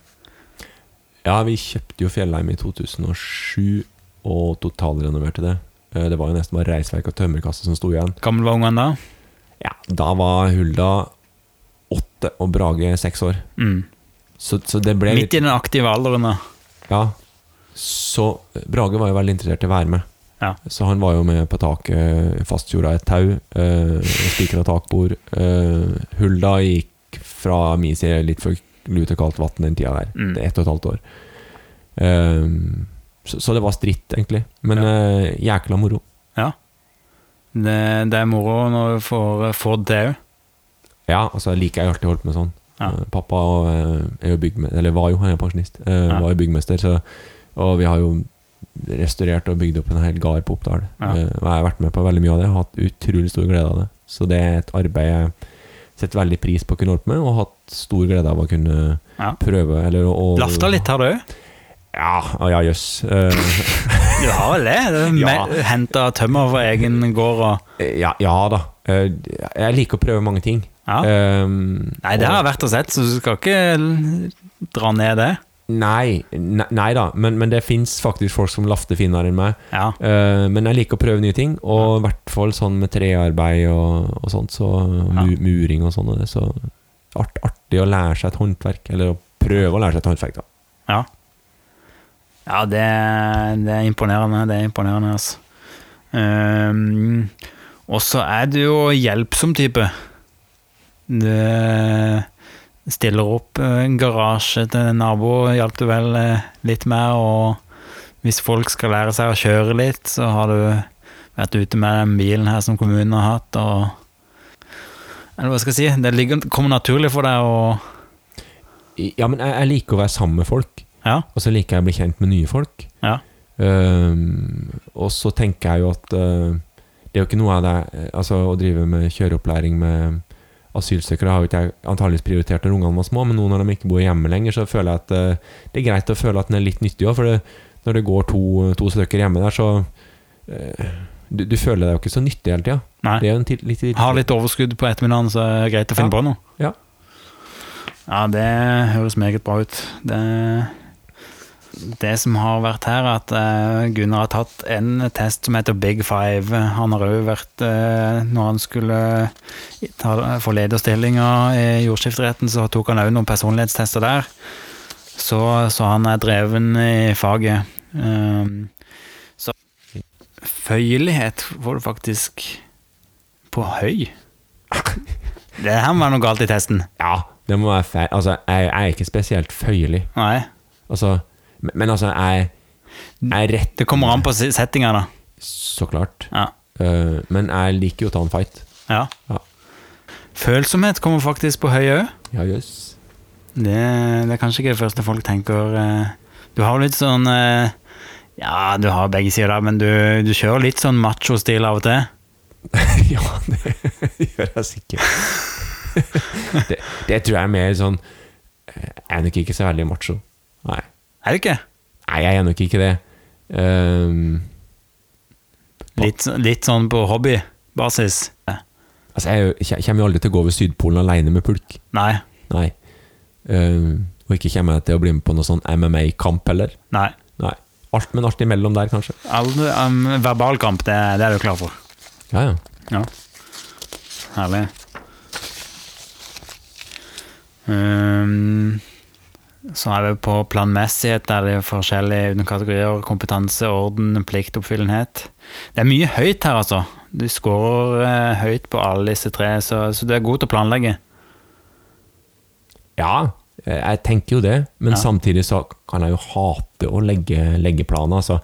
Speaker 2: Ja, vi kjøpte jo Fjellheim i 2007 og totalrenoverte det. Eh, det var jo nesten bare reisverk og tømmerkasse som sto igjen.
Speaker 1: Gamle var ungene da.
Speaker 2: Ja, da var Hulda åtte og Brage seks år.
Speaker 1: Mm.
Speaker 2: Så, så det ble
Speaker 1: Midt
Speaker 2: litt
Speaker 1: i den aktive alderen, da.
Speaker 2: Ja. Så eh, Brage var jo veldig interessert i å være med.
Speaker 1: Ja.
Speaker 2: Så han var jo med på taket, fastjorda i et tau, eh, spikra takbord. Eh, Hulda gikk fra min side litt for lut og kaldt vann den tida der.
Speaker 1: Mm.
Speaker 2: Det er ett og et halvt år. Eh, så, så det var stritt, egentlig. Men eh, jækla moro.
Speaker 1: Det, det er moro når du får, får det òg.
Speaker 2: Ja, altså jeg liker jeg alltid holdt med sånn.
Speaker 1: Ja.
Speaker 2: Eh, Pappa eh, er jo byggme- eller var jo, han er pensjonist, eh,
Speaker 1: Ja.
Speaker 2: var jo byggmester, så, og vi har jo restaurert og bygd opp en hel gard på Oppdal.
Speaker 1: Ja.
Speaker 2: Eh, og jeg har vært med på veldig mye av det, og hatt utrolig stor glede av det. Så det er et arbeid jeg setter veldig pris på å kunne holde på med, og hatt stor glede av å kunne
Speaker 1: Ja.
Speaker 2: prøve, eller å... å-
Speaker 1: Lafta litt har du òg.
Speaker 2: Ja, å ja, jøss. Eh,
Speaker 1: Du har vel det? det?
Speaker 2: Ja.
Speaker 1: Ja. Henta tømmer fra egen gård og
Speaker 2: ja, ja da. Eh, jeg liker å prøve mange ting.
Speaker 1: ja.
Speaker 2: Eh,
Speaker 1: Nei, det har jeg vært og sett, så du skal ikke dra ned det.
Speaker 2: Nei, ne- nei da, men, men det fins faktisk folk som lafter finere enn meg.
Speaker 1: Ja.
Speaker 2: Eh, men jeg liker å prøve nye ting, og i hvert fall sånn med trearbeid og, og sånt, så mu, muring og sånn. og det, Så art, artig å lære seg et håndverk, eller å prøve å lære seg et håndverk, da.
Speaker 1: Ja, ja det, det er imponerende. Det er imponerende, altså. Ehm, og så er du jo hjelpsom type. Du stiller opp eh, en garasje til en nabo, hjalp du vel eh, litt med, og hvis folk skal lære seg å kjøre litt, så har du vært ute med den bilen her som kommunen har hatt, og Eller hva skal jeg si? Det ligger, kommer naturlig for deg å
Speaker 2: I- Ja, men jeg, jeg liker å være sammen med folk,
Speaker 1: Ja.
Speaker 2: og så liker jeg å bli kjent med nye folk.
Speaker 1: Ja.
Speaker 2: Ehm, og så tenker jeg jo at eh, det er jo ikke noe av det eh, Altså, å drive med kjøreopplæring med asylsøkere har jo ikke jeg antageligvis prioritert når ungene var små, men nå når de ikke bor hjemme lenger, så føler jeg at eh, det er greit å føle at den er litt nyttig òg, for det, når det går to, to stykker hjemme der, så eh, du, du føler deg jo ikke så nyttig hele tida.
Speaker 1: Nei.
Speaker 2: Det er jo en til, litt
Speaker 1: Har litt overskudd på ettermiddagen, så er det greit å finne
Speaker 2: Ja.
Speaker 1: på noe.
Speaker 2: Ja.
Speaker 1: Ja, det høres meget bra ut. Det, det som har vært her, er at eh, Gunnar har tatt en test som heter Big Five. Han har òg vært eh, Når han skulle eh, ta, få lederstillinga i jordskifteretten, så tok han òg noen personlighetstester der. Så, så han er dreven i faget. Um, så Føyelighet får du faktisk på høy. Det her var noe galt i testen.
Speaker 2: Ja, det må være feil. Altså, jeg, jeg er ikke spesielt føyelig.
Speaker 1: Nei.
Speaker 2: Altså, men, men altså, jeg, jeg er rett
Speaker 1: Det kommer an på se- settinga, da.
Speaker 2: Så klart.
Speaker 1: Ja.
Speaker 2: Eh, men jeg liker jo å ta en fight.
Speaker 1: ja.
Speaker 2: Ja.
Speaker 1: Følsomhet kommer faktisk på høy òg.
Speaker 2: Ja, jøss.
Speaker 1: Det, det er kanskje ikke det første folk tenker. eh. Du har jo litt sånn eh, Ja, du har begge sider der, men du, du kjører litt sånn macho-stil av og til.
Speaker 2: ja, det gjør jeg sikkert. det, det tror jeg er mer sånn eh, Jeg er nok ikke så veldig macho. Nei,
Speaker 1: Er det ikke?
Speaker 2: Nei jeg er nok ikke det. Ehm,
Speaker 1: Litt, så- litt sånn på hobbybasis?
Speaker 2: altså, jeg, er jo- jeg kommer jo aldri til å gå over Sydpolen alene med pulk.
Speaker 1: Nei.
Speaker 2: Nei. Ehm, og ikke kommer jeg til å bli med på noe sånn MMA-kamp heller.
Speaker 1: Nei.
Speaker 2: Nei. Alt, men alt imellom der, kanskje.
Speaker 1: Aldri, um, verbalkamp, det, det er du klar for?
Speaker 2: Ja, ja.
Speaker 1: Ja. Herlig. Ehm, så er vi på planmessighet, der det er forskjellige underkategorier. Kompetanse, orden, pliktoppfyllenhet. Det er mye høyt her, altså. Du scorer eh, høyt på alle disse tre, så, så du er god til å planlegge.
Speaker 2: Ja, eh, jeg tenker jo det, men
Speaker 1: Ja.
Speaker 2: samtidig så kan jeg jo hate å legge, legge planer. Altså,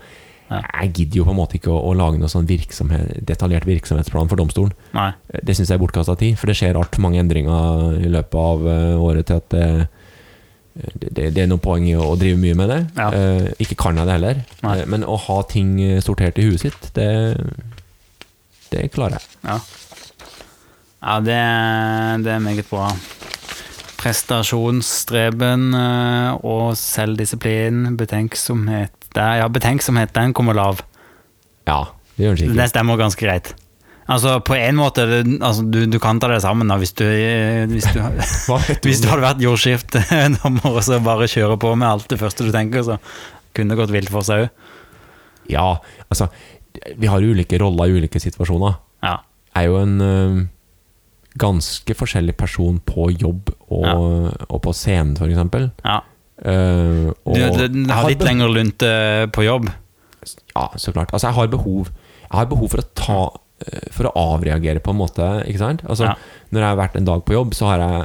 Speaker 1: Ja.
Speaker 2: Jeg gidder jo på en måte ikke å, å lage noen sånn virksomhet, detaljert virksomhetsplan for domstolen.
Speaker 1: Nei.
Speaker 2: Eh, Det syns jeg er bortkasta tid, for det skjer altfor mange endringer i løpet av eh, året til at det, det, det, det er noe poeng i å, å drive mye med det.
Speaker 1: Ja.
Speaker 2: Eh, ikke kan jeg det heller.
Speaker 1: Nei.
Speaker 2: Eh, men å ha ting eh, sortert i huet sitt, det, det klarer jeg.
Speaker 1: Ja. Ja, det, det er meget bra. Prestasjonsstreben eh, og selvdisiplin, betenksomhet Der, Ja, betenksomhet, den kommer lav.
Speaker 2: Ja, det gjør det sikkert.
Speaker 1: Det stemmer ganske greit. Altså, på en måte, det- altså, du, du kan ta det sammen da, hvis du, eh, hvis du,
Speaker 2: Hva vet du
Speaker 1: hvis du
Speaker 2: om det?
Speaker 1: hadde vært jordskiftedommer og så bare kjøre på med alt det første du tenker, så kunne det gått vilt for seg òg.
Speaker 2: Ja, altså Vi har jo ulike roller i ulike situasjoner.
Speaker 1: Ja.
Speaker 2: Jeg er jo en ø, ganske forskjellig person på jobb og, og på scenen, for eksempel.
Speaker 1: ja.
Speaker 2: Eh, og
Speaker 1: Du, du, du
Speaker 2: jeg
Speaker 1: har litt
Speaker 2: be-
Speaker 1: lengre lunte på jobb.
Speaker 2: Ja, så klart. Altså, jeg har behov Jeg har behov for å ta eh, For å avreagere, på en måte. Ikke sant? Altså,
Speaker 1: Ja.
Speaker 2: Når jeg har vært en dag på jobb, så har jeg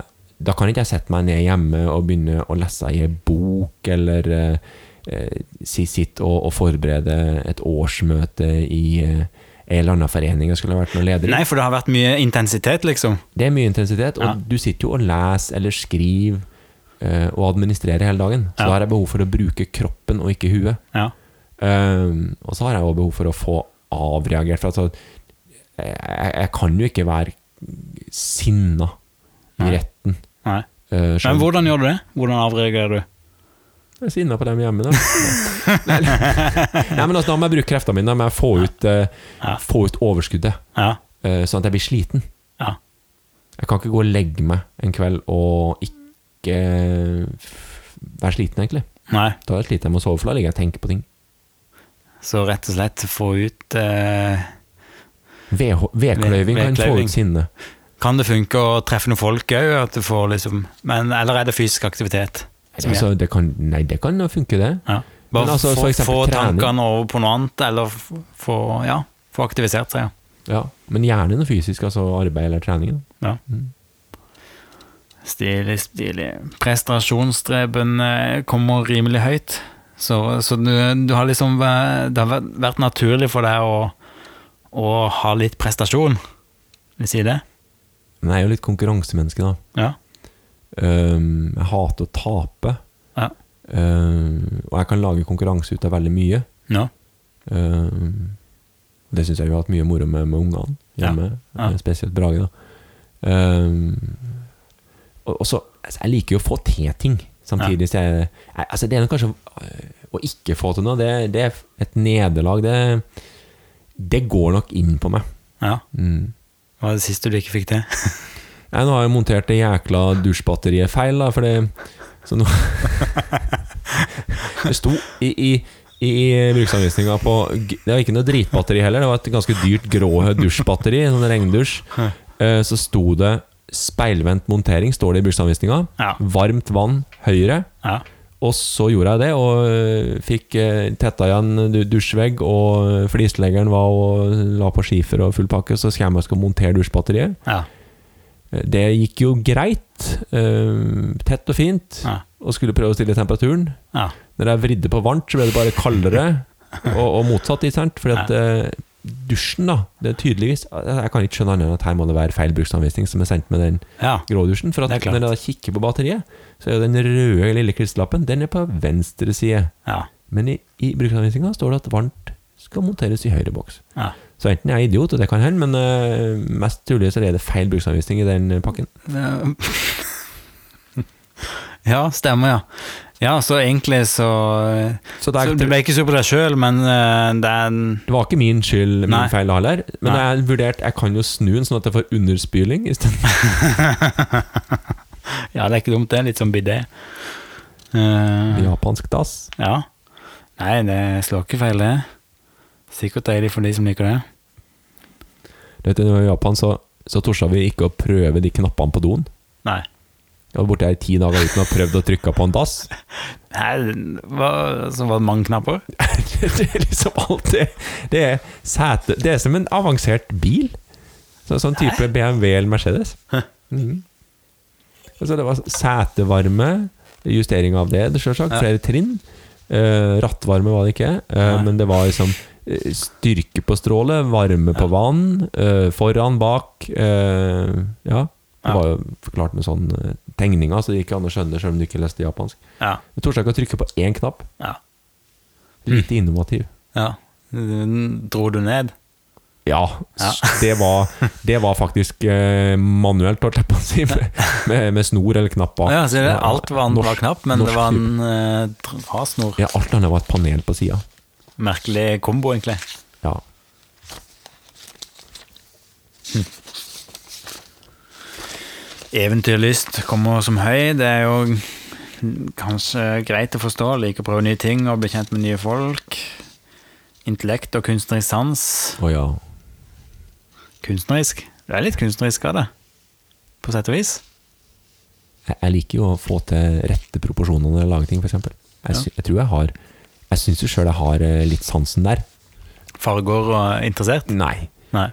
Speaker 2: da kan ikke jeg sette meg ned hjemme og begynne å lese i en bok, eller eh, eh, si- sitte og, og forberede et årsmøte i eh, en eller annen forening jeg skulle vært noen leder i.
Speaker 1: Nei, for det har vært mye intensitet, liksom.
Speaker 2: Det er mye intensitet, og
Speaker 1: Ja.
Speaker 2: du sitter jo og leser eller skriver eh, og administrerer hele dagen. Så
Speaker 1: Ja.
Speaker 2: da har jeg behov for å bruke kroppen og ikke huet.
Speaker 1: Ja.
Speaker 2: Ehm, og så har jeg også behov for å få avreagert. For altså, jeg, jeg kan jo ikke være sinna i
Speaker 1: Nei.
Speaker 2: retten.
Speaker 1: Nei.
Speaker 2: eh, selv-
Speaker 1: Men hvordan gjør du det? Hvordan avreagerer du?
Speaker 2: Jeg er sinna på dem hjemme, da. Nei, Nei, men altså, da må jeg bruke kreftene mine. Da må jeg få ut, eh,
Speaker 1: Ja.
Speaker 2: få ut overskuddet,
Speaker 1: Ja.
Speaker 2: eh, sånn at jeg blir sliten.
Speaker 1: ja.
Speaker 2: Jeg kan ikke gå og legge meg en kveld og ikke f- være sliten, egentlig.
Speaker 1: Nei.
Speaker 2: Da er jeg sliten, jeg må sove, for da ligger jeg og tenker på ting.
Speaker 1: Så rett og slett få ut eh,
Speaker 2: Vedh- Vedkløyving kan få
Speaker 1: Vedkløyving.
Speaker 2: ut sinne.
Speaker 1: Kan det funke å treffe noen folk òg? At du får liksom Men eller er det fysisk aktivitet? Som
Speaker 2: Altså, det kan, nei, det kan jo funke, det.
Speaker 1: Ja.
Speaker 2: Men
Speaker 1: Bare
Speaker 2: altså, for
Speaker 1: få,
Speaker 2: eksempel
Speaker 1: få
Speaker 2: trening.
Speaker 1: tankene over på noe annet, eller f- få Ja, få aktivisert seg.
Speaker 2: Ja. Men gjerne noe fysisk, altså arbeid eller trening. da.
Speaker 1: Ja.
Speaker 2: Mm.
Speaker 1: Stilig, stilig. Prestasjonsstreben eh, kommer rimelig høyt. Så, så du, du har liksom væ- Det har vært- vært naturlig for deg å, å ha litt prestasjon, vil jeg si det?
Speaker 2: Men jeg er jo litt konkurransemenneske, da.
Speaker 1: Ja.
Speaker 2: Ehm, jeg hater å tape.
Speaker 1: Ja.
Speaker 2: Ehm, og jeg kan lage konkurranse ut av veldig mye.
Speaker 1: Ja.
Speaker 2: Ehm, det syns jeg vi har hatt mye moro med med ungene hjemme,
Speaker 1: Ja, ja.
Speaker 2: eh, spesielt Brage. da Ehm, og, og så, altså, Jeg liker jo å få til ting, samtidig som jeg, jeg altså, Det er nok kanskje øh, å ikke få til noe, det, det er et nederlag. Det, det går nok inn på meg.
Speaker 1: ja.
Speaker 2: Mm.
Speaker 1: Hva var det siste du ikke fikk til?
Speaker 2: Nei, nå har jeg montert det jækla dusjbatteriet feil, da, for det Så nå Det sto i, i i, i bruksanvisninga på g- Det var ikke noe dritbatteri heller, det var et ganske dyrt grå dusjbatteri. Sånn regndusj. Eh, Så sto det 'speilvendt montering', står det i bruksanvisninga.
Speaker 1: Ja.
Speaker 2: Varmt vann høyre.
Speaker 1: Ja.
Speaker 2: Og så gjorde jeg det, og øh, fikk øh, tetta igjen du- dusjvegg, og eh, flisleggeren var og la på skifer og full pakke, så skal jeg meg og skal montere dusjbatteriet.
Speaker 1: ja.
Speaker 2: Eh, Det gikk jo greit. eh, Tett og fint.
Speaker 1: Ja.
Speaker 2: Og skulle prøve å stille temperaturen.
Speaker 1: ja.
Speaker 2: Når jeg vridde på varmt, så ble det bare kaldere. Og, og motsatt, ikke sant? Fordi at eh, dusjen, da Det er tydeligvis altså, Jeg kan ikke skjønne annet enn at her må det være feil bruksanvisning som er sendt med den
Speaker 1: ja.
Speaker 2: grå dusjen. For at
Speaker 1: Det er klart.
Speaker 2: når jeg da kikker på batteriet, så er jo den røde lille klisterlappen Den er på venstre side.
Speaker 1: ja.
Speaker 2: Men i, i bruksanvisninga står det at varmt skal monteres i høyre boks.
Speaker 1: Ja.
Speaker 2: Så enten jeg er idiot, og det kan hende, men eh, mest trolig så er det feil bruksanvisning i den pakken.
Speaker 1: ja, stemmer, ja. Ja, så egentlig så,
Speaker 2: Så det,
Speaker 1: så
Speaker 2: er,
Speaker 1: Du
Speaker 2: det,
Speaker 1: ble ikke sur på deg sjøl, men eh, det er en
Speaker 2: var ikke min skyld, min
Speaker 1: Nei.
Speaker 2: feil da heller. Men
Speaker 1: Nei.
Speaker 2: jeg vurderte jeg kan jo snu den sånn at jeg får underspyling isteden.
Speaker 1: Ja, det er ikke dumt, det. er Litt sånn bidé. Eh,
Speaker 2: Japansk dass.
Speaker 1: ja. Nei, det slår ikke feil, det. Sikkert deilig for de som liker det.
Speaker 2: Du vet, når vi var i Japan, så, så torsa vi ikke å prøve de knappene på doen.
Speaker 1: Nei.
Speaker 2: Jeg var borte her i ti dager uten å ha prøvd å trykke på en dass.
Speaker 1: Nei, det var- så var det mange knapper?
Speaker 2: det er liksom alt det Det er sete Det er som en avansert bil. Så, sånn type BMW eller Mercedes. Mhm. Og så det var setevarme, justering av det, det selvsagt.
Speaker 1: Ja.
Speaker 2: Flere trinn. Eh, rattvarme var det ikke, eh,
Speaker 1: Nei.
Speaker 2: men det var liksom eh, styrke på strålet, varme på vann, eh, foran, bak. eh, ja. Det
Speaker 1: Ja.
Speaker 2: var jo forklart med sånn eh, tegninger, så det gikk an å skjønne selv om du ikke leste japansk.
Speaker 1: Ja.
Speaker 2: Du torde ikke å trykke på én knapp.
Speaker 1: Ja.
Speaker 2: Lite
Speaker 1: Mm.
Speaker 2: innovativ.
Speaker 1: ja. Dro du ned?
Speaker 2: Ja,
Speaker 1: Ja.
Speaker 2: s- Det, var, det var faktisk eh, manuelt, holdt jeg på å si, med, med, med snor eller knapper.
Speaker 1: Ja, så det, alt var en bra
Speaker 2: Norsk-
Speaker 1: knapp, men det
Speaker 2: norsk
Speaker 1: var en eh, dr- drasnor.
Speaker 2: Ja, alt annet var et panel på sida.
Speaker 1: Merkelig kombo, egentlig.
Speaker 2: Ja.
Speaker 1: Eventyrlyst kommer som høy. Det er jo kanskje greit å forstå. Liker å prøve nye ting og bli kjent med nye folk. Intellekt og kunstnerisk sans.
Speaker 2: Å ja.
Speaker 1: Kunstnerisk? Du er litt kunstnerisk av det, på sett og vis.
Speaker 2: Jeg, jeg liker jo å få til rette proporsjoner når jeg lager ting, f.eks. Jeg, sy- jeg tror jeg har Jeg syns jo sjøl jeg har eh, litt sansen der.
Speaker 1: Farger og interessert?
Speaker 2: Nei.
Speaker 1: Nei.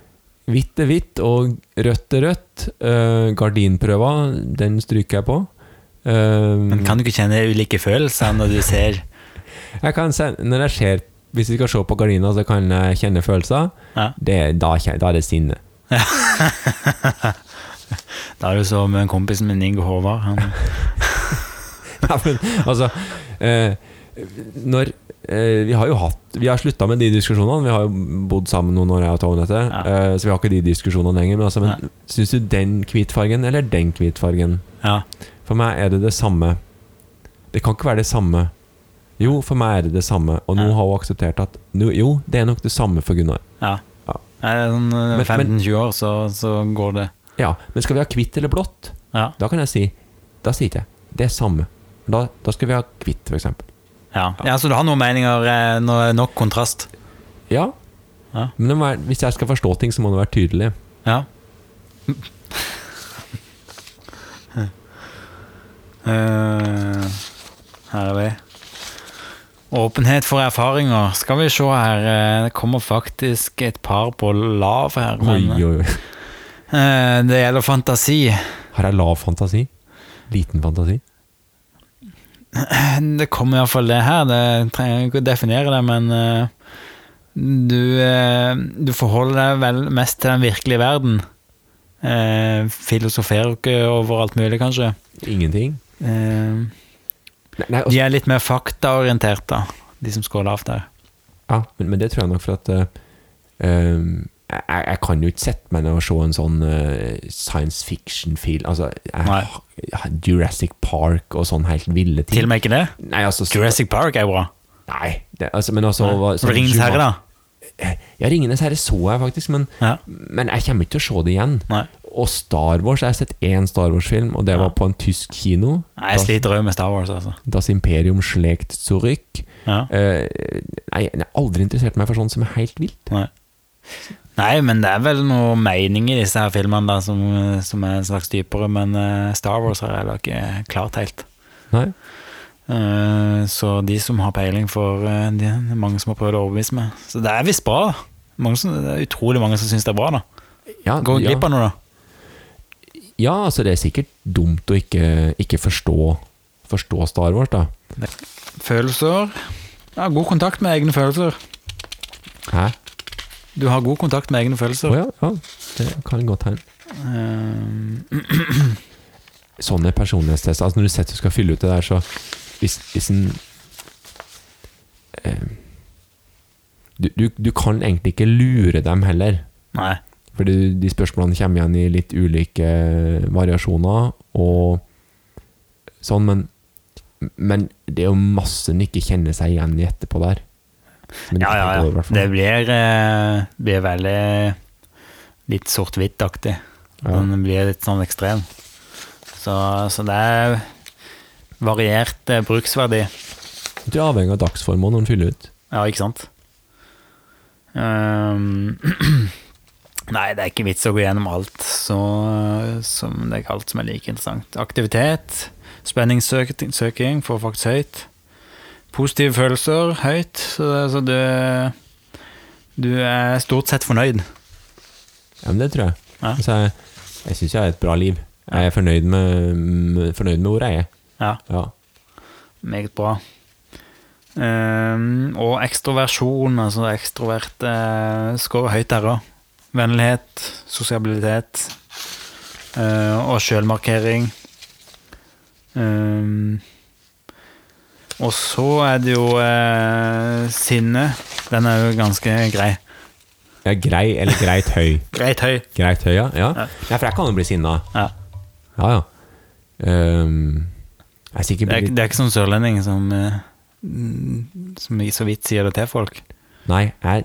Speaker 2: Hvitt er hvitt, og rødt er rødt. Eh, gardinprøva, den stryker jeg på. Eh,
Speaker 1: Men kan du ikke kjenne ulike følelser når du ser
Speaker 2: Jeg kan se, når jeg ser Hvis vi skal se på gardina, så kan jeg kjenne følelser.
Speaker 1: Ja.
Speaker 2: Det, da, kjen- da er det sinne.
Speaker 1: Da er det som kompisen min Ingo Håvard. Han,
Speaker 2: Ja, men, altså, eh, når eh, Vi har jo hatt Vi har slutta med de diskusjonene. Vi har jo bodd sammen noen år, jeg og Tonete,
Speaker 1: Ja.
Speaker 2: eh, så vi har ikke de diskusjonene lenger. Men, altså,
Speaker 1: Nei.
Speaker 2: men syns du den hvitfargen eller den hvitfargen?
Speaker 1: ja.
Speaker 2: For meg er det det samme. Det kan ikke være det samme. Jo, for meg er det det samme, og nå
Speaker 1: Ja.
Speaker 2: har hun akseptert at nå- Jo, det er nok det samme for Gunnar.
Speaker 1: ja.
Speaker 2: Ja.
Speaker 1: Nei, det er sånn eh,
Speaker 2: Men-
Speaker 1: 15-20 år, så, så går det.
Speaker 2: Ja, Men skal vi ha hvitt eller blått?
Speaker 1: Ja.
Speaker 2: Da kan jeg si Da sier ikke jeg det er samme. Da, da skal vi ha hvitt, f.eks.
Speaker 1: Ja. ja, Så du har noen meninger eh, når det er nok kontrast?
Speaker 2: Ja.
Speaker 1: Ja.
Speaker 2: Men det må være, hvis jeg skal forstå ting, så må det være tydelig.
Speaker 1: Ja. Eh, her er vi. Åpenhet for erfaringer. Skal vi se her. eh, Det kommer faktisk et par på lav her.
Speaker 2: Oi,
Speaker 1: men,
Speaker 2: oi, oi.
Speaker 1: eh, det gjelder fantasi.
Speaker 2: Har jeg lav fantasi? Liten fantasi?
Speaker 1: Det kommer iallfall det her. Det trenger jeg ikke å definere det, men eh, du, eh, du forholder deg vel mest til den virkelige verden. Eh, filosoferer ikke over alt mulig, kanskje.
Speaker 2: Ingenting?
Speaker 1: Eh,
Speaker 2: Nei, altså, nei, også,
Speaker 1: De er litt mer faktaorienterte, de som skåler lavt der.
Speaker 2: ja, men, men det tror jeg nok for at eh, ehm, jeg, jeg jeg kan jo ikke sette meg ned og se en sånn eh, science fiction-film. Altså,
Speaker 1: Nei.
Speaker 2: jeg, Jurassic Park og sånn helt ville ting.
Speaker 1: Til og med ikke det?
Speaker 2: Nei, altså,
Speaker 1: Jurassic Park er bra.
Speaker 2: nei det, altså, men altså hva- sånn
Speaker 1: Ringens herre, da.
Speaker 2: Ja, Ringenes herre så jeg faktisk, men,
Speaker 1: Ja.
Speaker 2: men jeg kommer ikke til å se det igjen.
Speaker 1: Nei.
Speaker 2: Og Star Wars, jeg har sett én Star Wars-film, og det
Speaker 1: Ja.
Speaker 2: var på en tysk kino.
Speaker 1: Nei, jeg sliter òg med Star Wars, altså.
Speaker 2: Das Imperium Schlägt Zurück.
Speaker 1: Ja.
Speaker 2: Eh, nei, jeg har aldri interessert meg for sånt som er helt vilt.
Speaker 1: Nei. Nei, men det er vel noe mening i disse her filmene da, som, som er en slags dypere, men eh, Star Wars har jeg heller ikke klart helt.
Speaker 2: Nei.
Speaker 1: Eh, så de som har peiling, får eh, de, det er mange som har prøvd å overbevise meg. Så det er visst bra. da. Mange som, det er utrolig mange som syns det er bra, da.
Speaker 2: Ja,
Speaker 1: Går
Speaker 2: ja,
Speaker 1: glipp av noe, da.
Speaker 2: ja, altså det er sikkert dumt å ikke, ikke forstå, forstå Star Wars, da.
Speaker 1: Følelser. Ja, god kontakt med egne følelser.
Speaker 2: Hæ?
Speaker 1: Du har god kontakt med egne følelser.
Speaker 2: Å ja, ja, det kan godt hende.
Speaker 1: Eh,
Speaker 2: Sånne personlighetstester altså Når du setter du skal fylle ut det der, så Hvis, hvis en eh, du, du, du kan egentlig ikke lure dem heller.
Speaker 1: Nei.
Speaker 2: For de, de spørsmålene kommer igjen i litt ulike eh, variasjoner og sånn, men men det er jo masse en ikke kjenner seg igjen i etterpå der. Som en
Speaker 1: Ja,
Speaker 2: ikke
Speaker 1: ja,
Speaker 2: tenker over, i
Speaker 1: ja.
Speaker 2: hvert fall.
Speaker 1: Det blir, eh, blir veldig litt sort-hvitt-aktig.
Speaker 2: Ja.
Speaker 1: Den blir litt sånn ekstrem. Så, så det er variert eh, bruksverdi.
Speaker 2: Du er avhengig av dagsformen når den fyller ut.
Speaker 1: Ja, ikke sant? Ehm, nei, det er ikke vits å gå gjennom alt så, som det er ikke alt som er like interessant. Aktivitet, spenningssøking søking får faktisk høyt. Positive følelser høyt, så, så du, du er stort sett fornøyd.
Speaker 2: Ja, men det tror jeg.
Speaker 1: Ja.
Speaker 2: Altså, jeg jeg syns jeg har et bra liv. Jeg er fornøyd med, med- fornøyd med hvor jeg er.
Speaker 1: Ja,
Speaker 2: Ja.
Speaker 1: meget bra. Ehm, og ekstroversjon, altså ekstrovert, uh, scorer høyt der òg. Vennlighet, sosialitet eh, og sjølmarkering. Ehm, og så er det jo eh, sinne. Den er jo ganske grei.
Speaker 2: Jeg er grei eller greit høy.
Speaker 1: Greit høy.
Speaker 2: Greit høy, ja. ja.
Speaker 1: Ja.
Speaker 2: Nei, for jeg kan jo bli sinna.
Speaker 1: Ja.
Speaker 2: Ja, ja. Ehm, jeg er
Speaker 1: Det, er,
Speaker 2: sikkert blitt
Speaker 1: ikke- det er ikke sånn sørlending som, eh, mm, som så vidt sier det til folk.
Speaker 2: Nei, jeg,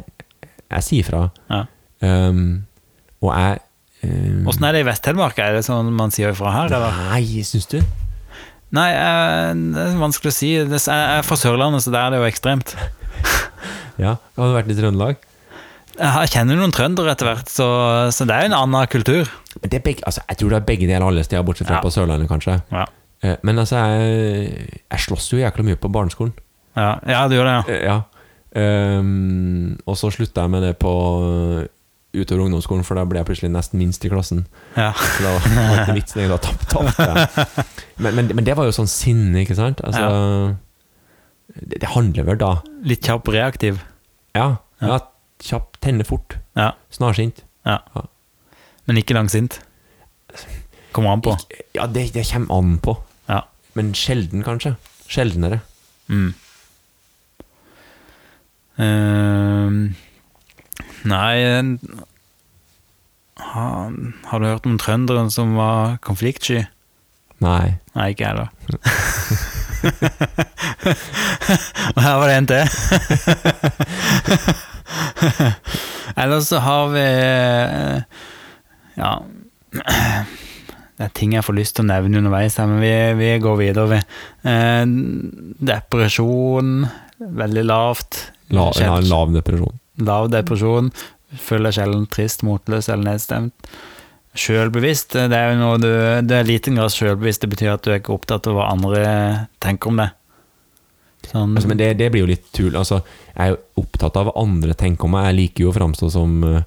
Speaker 2: jeg sier fra.
Speaker 1: Ja.
Speaker 2: Ehm, og jeg um,
Speaker 1: Åssen er det i Vest-Telemark? Er det sånn man sier ifra her? Eller?
Speaker 2: Nei, syns du?
Speaker 1: Nei, eh, det er vanskelig å si. Det- Jeg er fra Sørlandet, så der er det jo ekstremt.
Speaker 2: Ja, har du vært i Trøndelag?
Speaker 1: Jeg har- kjenner noen trøndere etter hvert, så, så det er jo en annen kultur.
Speaker 2: Men det er begge, altså, jeg tror det er begge deler alle steder, bortsett fra
Speaker 1: Ja.
Speaker 2: på Sørlandet, kanskje.
Speaker 1: Ja,
Speaker 2: Eh, Men altså, jeg, jeg slåss jo jækla mye på barneskolen.
Speaker 1: ja, ja du gjør det, ja.
Speaker 2: Eh, Ja. Ehm, og så slutta jeg med det på eh, utover ungdomsskolen, for da ble jeg plutselig nest minst i klassen.
Speaker 1: ja.
Speaker 2: Så da var det ikke vits i det, da tap- tapte jeg. Men, men, men det var jo sånn sinne, ikke sant? Altså, det, det handler vel da
Speaker 1: Litt kjapp reaktiv.
Speaker 2: Ja.
Speaker 1: Ja.
Speaker 2: ja kjapt, tenne fort,
Speaker 1: Ja,
Speaker 2: snarsint.
Speaker 1: ja. Men ikke langsint. Kommer an på.
Speaker 2: Ik- Ja, det, det kommer an på.
Speaker 1: Ja.
Speaker 2: Men sjelden, kanskje. Sjeldnere.
Speaker 1: Mm. Ehm, nei en- har, har du hørt om trønderen som var konfliktsky?
Speaker 2: Nei.
Speaker 1: Nei, ikke jeg heller. Og her var det en til. Ellers så har vi eh, Ja Det er ting jeg får lyst til å nevne underveis, her, men vi, vi går videre. Vi. Eh, Depresjon, veldig lavt.
Speaker 2: La,
Speaker 1: Sjel-
Speaker 2: la, lav depresjon.
Speaker 1: Lav depresjon. Føler deg sjelden trist, motløs eller nedstemt. Sjølbevisst, eh, det er jo noe du Det er i liten grad sjølbevisst. Det betyr at du er ikke opptatt av hva andre tenker om deg. Sånn,
Speaker 2: Altså, men det, det blir jo litt tull. Altså, jeg er jo opptatt av hva andre tenker om meg. Jeg liker jo å framstå som, eh,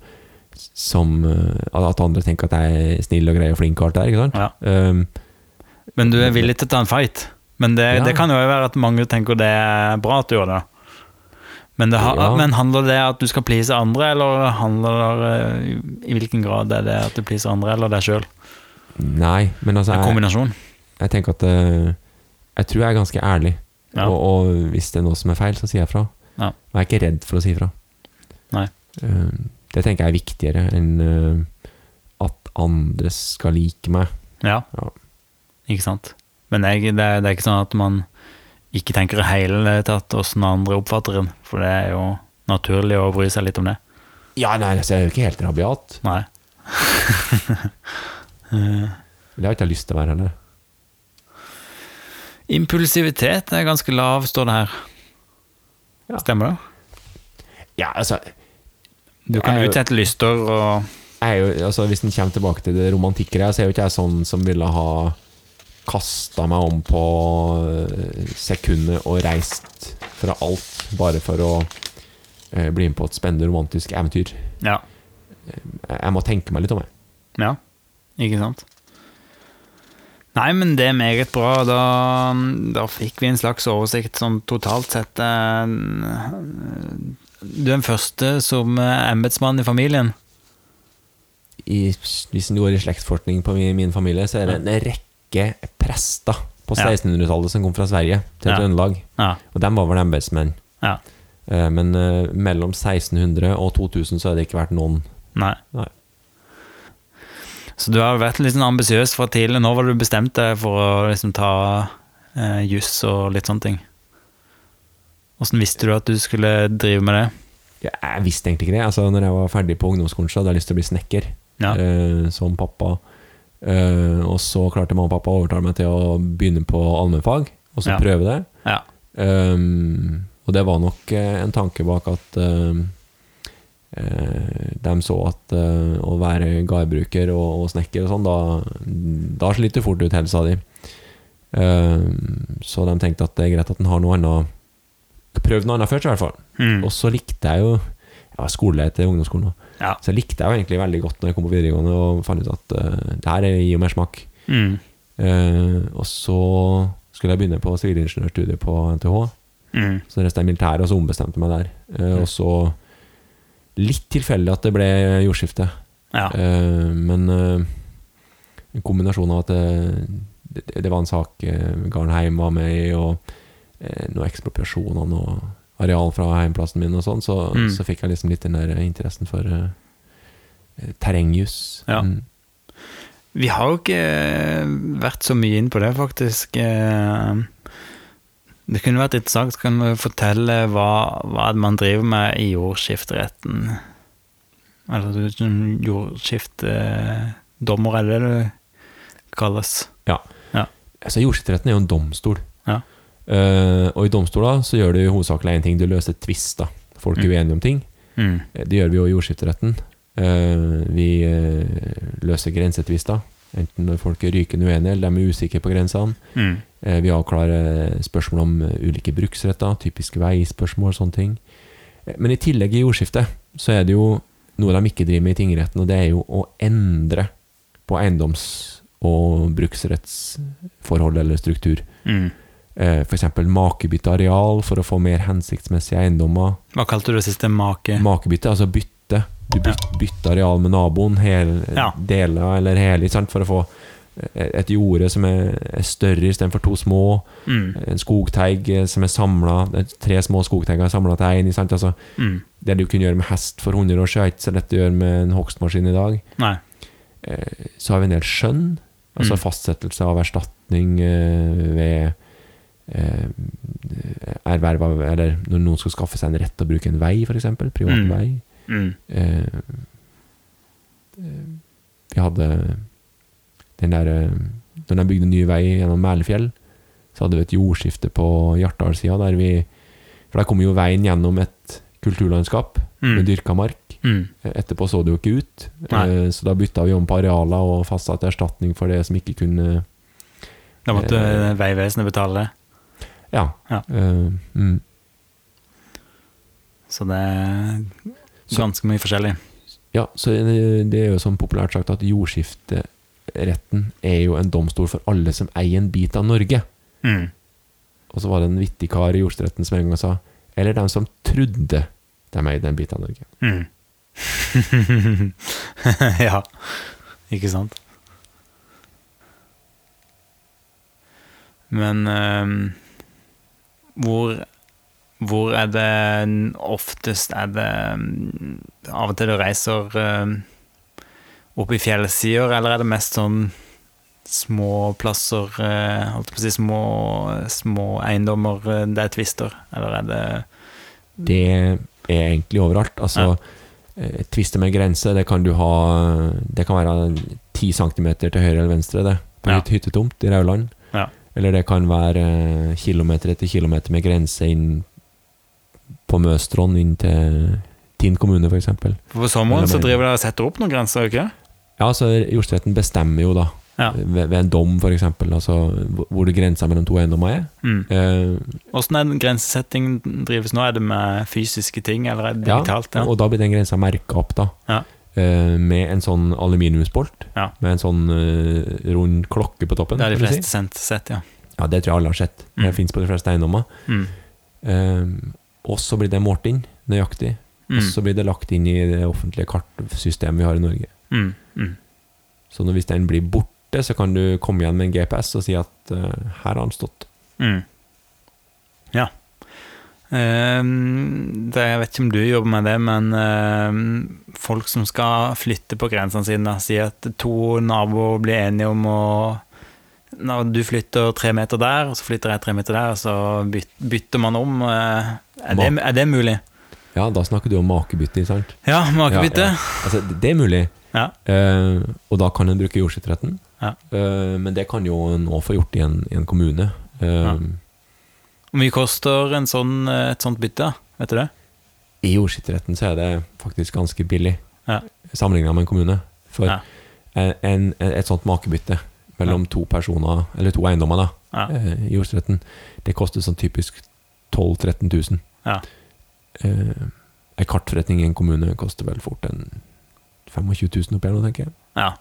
Speaker 2: som eh, At andre tenker at jeg er snill og grei og flink og alt det der. Ikke sant?
Speaker 1: ja.
Speaker 2: Um,
Speaker 1: men du er villig til å ta en fight. Men det,
Speaker 2: Ja.
Speaker 1: det kan jo være at mange tenker det er bra at du gjør det. Men, det har,
Speaker 2: Ja.
Speaker 1: men handler det at du skal please andre, eller handler det eh, i hvilken grad er det at du pleaser andre eller deg sjøl?
Speaker 2: nei, men altså
Speaker 1: En
Speaker 2: jeg,
Speaker 1: kombinasjon.
Speaker 2: jeg tenker at eh, Jeg tror jeg er ganske ærlig.
Speaker 1: Ja.
Speaker 2: Og, og hvis det er noe som er feil, så sier jeg fra.
Speaker 1: Ja.
Speaker 2: Og jeg er ikke redd for å si fra.
Speaker 1: Nei.
Speaker 2: Um, det tenker jeg er viktigere enn eh, at andre skal like meg.
Speaker 1: Ja.
Speaker 2: Ja.
Speaker 1: Ikke sant? Men jeg, det, er- det er ikke sånn at man ikke tenker i hele tatt åssen andre oppfatter en, for det er jo naturlig å bry seg litt om det.
Speaker 2: Ja, nei, altså, jeg er jo ikke helt rabiat.
Speaker 1: Nei.
Speaker 2: Det har ikke jeg lyst til å være heller.
Speaker 1: Impulsivitet er ganske lav, står det her.
Speaker 2: Ja.
Speaker 1: Stemmer det?
Speaker 2: Ja, altså,
Speaker 1: Du kan
Speaker 2: Jeg er jo-
Speaker 1: utsette lyster og
Speaker 2: jeg er jo, altså Hvis en kommer tilbake til det romantikkere, så er jo ikke jeg sånn som ville ha kasta meg om på eh, sekundet og reist fra alt bare for å eh, bli med på et spennende romantisk eventyr.
Speaker 1: Ja.
Speaker 2: Jeg jeg må tenke meg litt om, jeg.
Speaker 1: Ja, ikke sant? Nei, men det er meget bra. Da, da fikk vi en slags oversikt sånn totalt sett. eh, Du er den første som eh, embetsmann i familien.
Speaker 2: I, hvis en går i slektsforskning på min, min familie, så er det en rekke prester på
Speaker 1: Ja.
Speaker 2: 1600-tallet som kom fra Sverige til
Speaker 1: Ja.
Speaker 2: Trøndelag.
Speaker 1: Ja,
Speaker 2: Og dem var vel embetsmenn.
Speaker 1: ja.
Speaker 2: Eh, Men eh, mellom 1600 og 2000 så har det ikke vært noen
Speaker 1: Nei.
Speaker 2: Nei.
Speaker 1: Så du har vært litt sånn ambisiøs fra tidlig. Når var du bestemt deg for å liksom ta eh, juss og litt sånne ting? Åssen visste du at du skulle drive med det?
Speaker 2: Ja, Jeg visste egentlig ikke det. Altså, når jeg var ferdig på ungdomsskolen, så hadde jeg lyst til å bli snekker,
Speaker 1: Ja.
Speaker 2: eh, som pappa. Eh, og så klarte mamma og pappa å overtale meg til å begynne på allmennfag, og så
Speaker 1: Ja.
Speaker 2: prøve det.
Speaker 1: Ja.
Speaker 2: Um, og det var nok eh, en tanke bak at um, eh, de så at eh, å være gardbruker og, og snekker og sånn, da, da sliter fort ut helsa di. Um, så de tenkte at det er greit at en har noe annet Prøvd noe annet først, i hvert fall.
Speaker 1: Mm.
Speaker 2: Og så likte jeg jo Jeg var skolelærer til ungdomsskolen, også.
Speaker 1: Ja.
Speaker 2: så jeg likte jeg jo egentlig veldig godt når jeg kom på videregående og fant ut at eh, det her gir jo mer smak.
Speaker 1: Mm.
Speaker 2: Eh, og så skulle jeg begynne på sivilingeniørstudiet på NTH.
Speaker 1: Mm.
Speaker 2: Så reiste jeg i militæret, og så ombestemte jeg meg der. Eh,
Speaker 1: Mm.
Speaker 2: Og så litt tilfeldig at det ble jordskifte.
Speaker 1: Ja.
Speaker 2: Eh, men eh, en kombinasjon av at eh, det, det var en sak eh, Garnheim var med i, og eh, noe ekspropriasjon av noe areal fra heimplassen min, og sånn, så,
Speaker 1: Mm.
Speaker 2: så fikk jeg liksom litt den der interessen for eh, eh, terrengjus.
Speaker 1: Ja.
Speaker 2: Mm.
Speaker 1: Vi har jo ikke vært så mye inn på det, faktisk. Eh, Det kunne vært interessant kan vi fortelle hva, hva er det man driver med i jordskifteretten. Eller du- sånn jordskiftedommer, er det det kalles?
Speaker 2: Altså, jordskifteretten er jo en domstol.
Speaker 1: Ja.
Speaker 2: Eh, og i domstoler så gjør du jo hovedsakelig én ting, du løser tvister. Folk er
Speaker 1: Mm.
Speaker 2: uenige om ting.
Speaker 1: Mm.
Speaker 2: Eh, Det gjør vi jo i jordskifteretten. Eh, Vi eh, løser grensetvister. Enten når folk er rykende uenige, eller de er usikre på grensene.
Speaker 1: Mm.
Speaker 2: Eh, Vi avklarer spørsmål om eh, ulike bruksretter, typiske veispørsmål, sånne ting. Eh, Men i tillegg i jordskifte så er det jo noe de ikke driver med i tingretten, og det er jo å endre på eiendoms- og bruksrettsforhold eller struktur. Eh,
Speaker 1: Mm.
Speaker 2: F.eks. makebytte areal for å få mer hensiktsmessige eiendommer.
Speaker 1: Hva kalte du det siste? Make?
Speaker 2: Makebytte, altså bytte. Du byt, bytter areal med naboen, hel,
Speaker 1: Ja.
Speaker 2: deler eller hele, ikke sant? for å få et jorde som er, er større istedenfor to små.
Speaker 1: Mm.
Speaker 2: En skogteig eh, som er samla, tre små skogteiger samla til én. Altså,
Speaker 1: Mm.
Speaker 2: det du kunne gjøre med hest for 100 år siden, er ikke så lett å gjøre med en hogstmaskin i dag.
Speaker 1: Nei.
Speaker 2: Eh, Så har vi en del skjønn, altså
Speaker 1: Mm.
Speaker 2: fastsettelse av erstatning eh, ved eh, erverv av Eller når noen skal skaffe seg en rett til å bruke en vei, f.eks. Privat
Speaker 1: Mm.
Speaker 2: vei.
Speaker 1: Mm.
Speaker 2: Eh, eh, Vi hadde den der eh, Når de bygde ny vei gjennom Mælefjell, så hadde vi et jordskifte på Hjartdalssida, der vi For der kom jo veien gjennom et kulturlandskap
Speaker 1: Mm.
Speaker 2: med dyrka mark. Eh,
Speaker 1: Mm.
Speaker 2: Etterpå så det jo ikke ut,
Speaker 1: Nei.
Speaker 2: eh, så da bytta vi om på arealer og fastsatte erstatning for det som ikke kunne
Speaker 1: Da måtte
Speaker 2: Eh.
Speaker 1: Vegvesenet betale det.
Speaker 2: Ja.
Speaker 1: Ja.
Speaker 2: eh, mm.
Speaker 1: Så det er ganske mye forskjellig.
Speaker 2: Ja, så det det er jo som populært sagt at jordskifteretten er jo en domstol for alle som eier en bit av Norge.
Speaker 1: Mm.
Speaker 2: Og så var det en vittig kar i jordskifteretten som en gang sa Eller dem som trodde de eide en bit av Norge.
Speaker 1: Mm. ja, ikke sant? Men ehm, hvor, hvor er det n- oftest er det mm, Av og til du reiser ehm, opp i fjellsider, eller er det mest sånn små plasser eh, Holdt jeg på å si små, små eiendommer eh, det er tvister, eller er det
Speaker 2: Det er egentlig overalt. Altså, eh, tvister med grense, det kan du ha Det kan være ti centimeter til høyre eller venstre, det. På
Speaker 1: Ja.
Speaker 2: litt hyttetomt i Rauland.
Speaker 1: Ja.
Speaker 2: Eller det kan være eh, kilometer etter kilometer med grense inn på Møstron, inn til Tinn kommune, f.eks.
Speaker 1: For på sommeren så
Speaker 2: Eller-
Speaker 1: driver dere og setter opp noen grenser, ikke
Speaker 2: Ja, så jordskifteretten bestemmer jo, da.
Speaker 1: Ja.
Speaker 2: Ved, ved en dom, f.eks., altså, hvor- hvor det grensa mellom to eiendommer er.
Speaker 1: Mm.
Speaker 2: Eh,
Speaker 1: Hvordan er den grensesettingen drives nå? Er det med fysiske ting, eller er det
Speaker 2: Ja,
Speaker 1: digitalt? Ja.
Speaker 2: Og da blir den grensa merka opp, da.
Speaker 1: Ja.
Speaker 2: Eh, med en sånn aluminiumsbolt.
Speaker 1: Ja.
Speaker 2: Med en sånn eh, rund klokke på toppen.
Speaker 1: Det er de
Speaker 2: kan du
Speaker 1: fleste sendt sett, ja.
Speaker 2: Si. Ja, det tror jeg alle har sett. Det
Speaker 1: Mm.
Speaker 2: finnes på de fleste eiendommer.
Speaker 1: Mm.
Speaker 2: Eh, og så blir det målt inn nøyaktig. Og
Speaker 1: Mm.
Speaker 2: så blir det lagt inn i det offentlige kartsystemet vi har i Norge.
Speaker 1: Mm. Mm.
Speaker 2: Så når, hvis den blir borte, så kan du komme igjen med en GPS og si at eh, her har den stått.
Speaker 1: Mm. Ja. Ehm, det, jeg vet ikke om du jobber med det, men ehm, folk som skal flytte på grensene sine, sier at to naboer blir enige om å Når du flytter tre meter der, og så flytter jeg tre meter der, og så byt, bytter man om. eh, er, det, er det mulig?
Speaker 2: Ja, da snakker du om makebytte, ikke sant?
Speaker 1: Ja, makebytte.
Speaker 2: Ja, ja. Altså, det- det er mulig.
Speaker 1: Ja.
Speaker 2: Eh, og da kan en bruke jordskifteretten.
Speaker 1: Ja.
Speaker 2: Eh, men det kan jo en òg få gjort i en, i en kommune. Eh,
Speaker 1: Ja. Hvor mye koster en sånn, eh, et sånt bytte? Vet du det?
Speaker 2: I jordskifteretten så er det faktisk ganske billig,
Speaker 1: Ja.
Speaker 2: sammenligna med en kommune. For
Speaker 1: Ja.
Speaker 2: en, en, et sånt makebytte mellom to personer, eller to eiendommer, da,
Speaker 1: Ja.
Speaker 2: eh, i jordskifteretten, det koster sånn typisk 12 000-13 000.
Speaker 1: Ja.
Speaker 2: Eh, en kartforretning i en kommune koster vel fort en 25 000 oppi her nå, tenker jeg.
Speaker 1: Ja.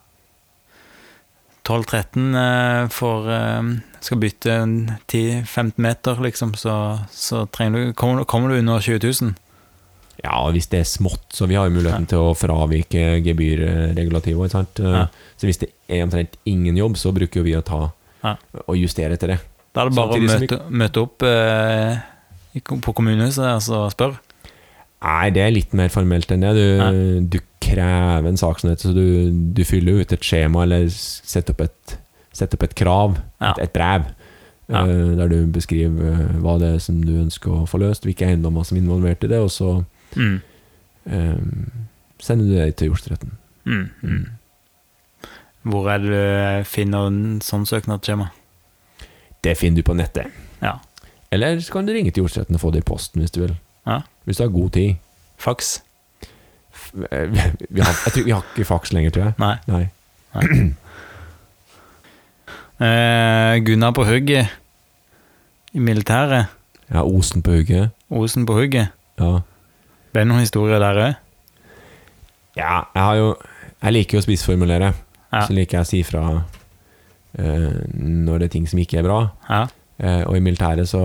Speaker 1: 12-13 eh, for eh, Skal bytte en 10-15 meter, liksom, så, så trenger du kommer, du- kommer du under 20 000?
Speaker 2: Ja, hvis det er smått, så vi har jo muligheten til å fravike gebyrregulativet. Ikke sant?
Speaker 1: Ja.
Speaker 2: Så hvis det er omtrent ingen jobb, så bruker jo vi å ta
Speaker 1: Ja.
Speaker 2: og justere etter det.
Speaker 1: Da er det bare å
Speaker 2: Samtidig som vi-
Speaker 1: møte, møte opp eh, i- på kommunehuset altså, og så spørre.
Speaker 2: Nei, det er litt mer formelt enn det. Du, du krever en saksomhet, så du, du fyller ut et skjema eller s- setter opp et, setter opp et krav,
Speaker 1: Ja.
Speaker 2: et, et brev,
Speaker 1: Ja.
Speaker 2: eh, der du beskriver eh, hva det er som du ønsker å få løst, hvilke eiendommer som er involvert i det, og så
Speaker 1: Mm.
Speaker 2: eh, sender du det til jordstretten.
Speaker 1: Mm. Mm. Hvor er det du eh, finner en sånn søknadsskjema?
Speaker 2: Det finner du på nettet.
Speaker 1: Ja.
Speaker 2: Eller så kan du ringe til jordstretten og få det i posten hvis du vil.
Speaker 1: Ja.
Speaker 2: Hvis du har god tid.
Speaker 1: Faks?
Speaker 2: F- eh, Vi har, jeg tror, vi har ikke faks lenger, tror jeg.
Speaker 1: Nei.
Speaker 2: Nei.
Speaker 1: Eh, Gunnar på hugget i militæret.
Speaker 2: Jeg har Osen på hugget.
Speaker 1: Osen på hugget.
Speaker 2: Ja.
Speaker 1: Det er noen historier der òg.
Speaker 2: Ja, jeg har jo Jeg liker jo å spissformulere.
Speaker 1: Ja.
Speaker 2: Så liker jeg å si fra eh, når det er ting som ikke er bra.
Speaker 1: Ja.
Speaker 2: Eh, og i militæret så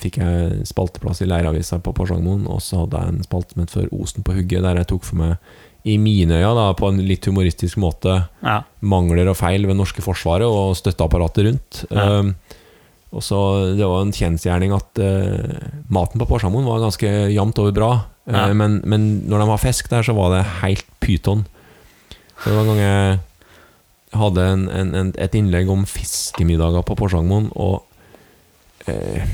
Speaker 2: fikk jeg spalteplass i leiravisa på Porsangmoen, og så hadde jeg en spalte som het For Osen på hugget, der jeg tok for meg, i mine øyne, da, på en litt humoristisk måte,
Speaker 1: ja.
Speaker 2: mangler og feil ved norske forsvaret og støtteapparatet rundt.
Speaker 1: Ja.
Speaker 2: Um, og så Det var en kjensgjerning at eh, maten på Porsangmoen var ganske jevnt over bra, eh,
Speaker 1: Ja.
Speaker 2: men, men når de har fisk der, så var det helt pyton. Så det var en gang jeg hadde en, en, en, et innlegg om fiskemiddager på Porsangmoen, og eh,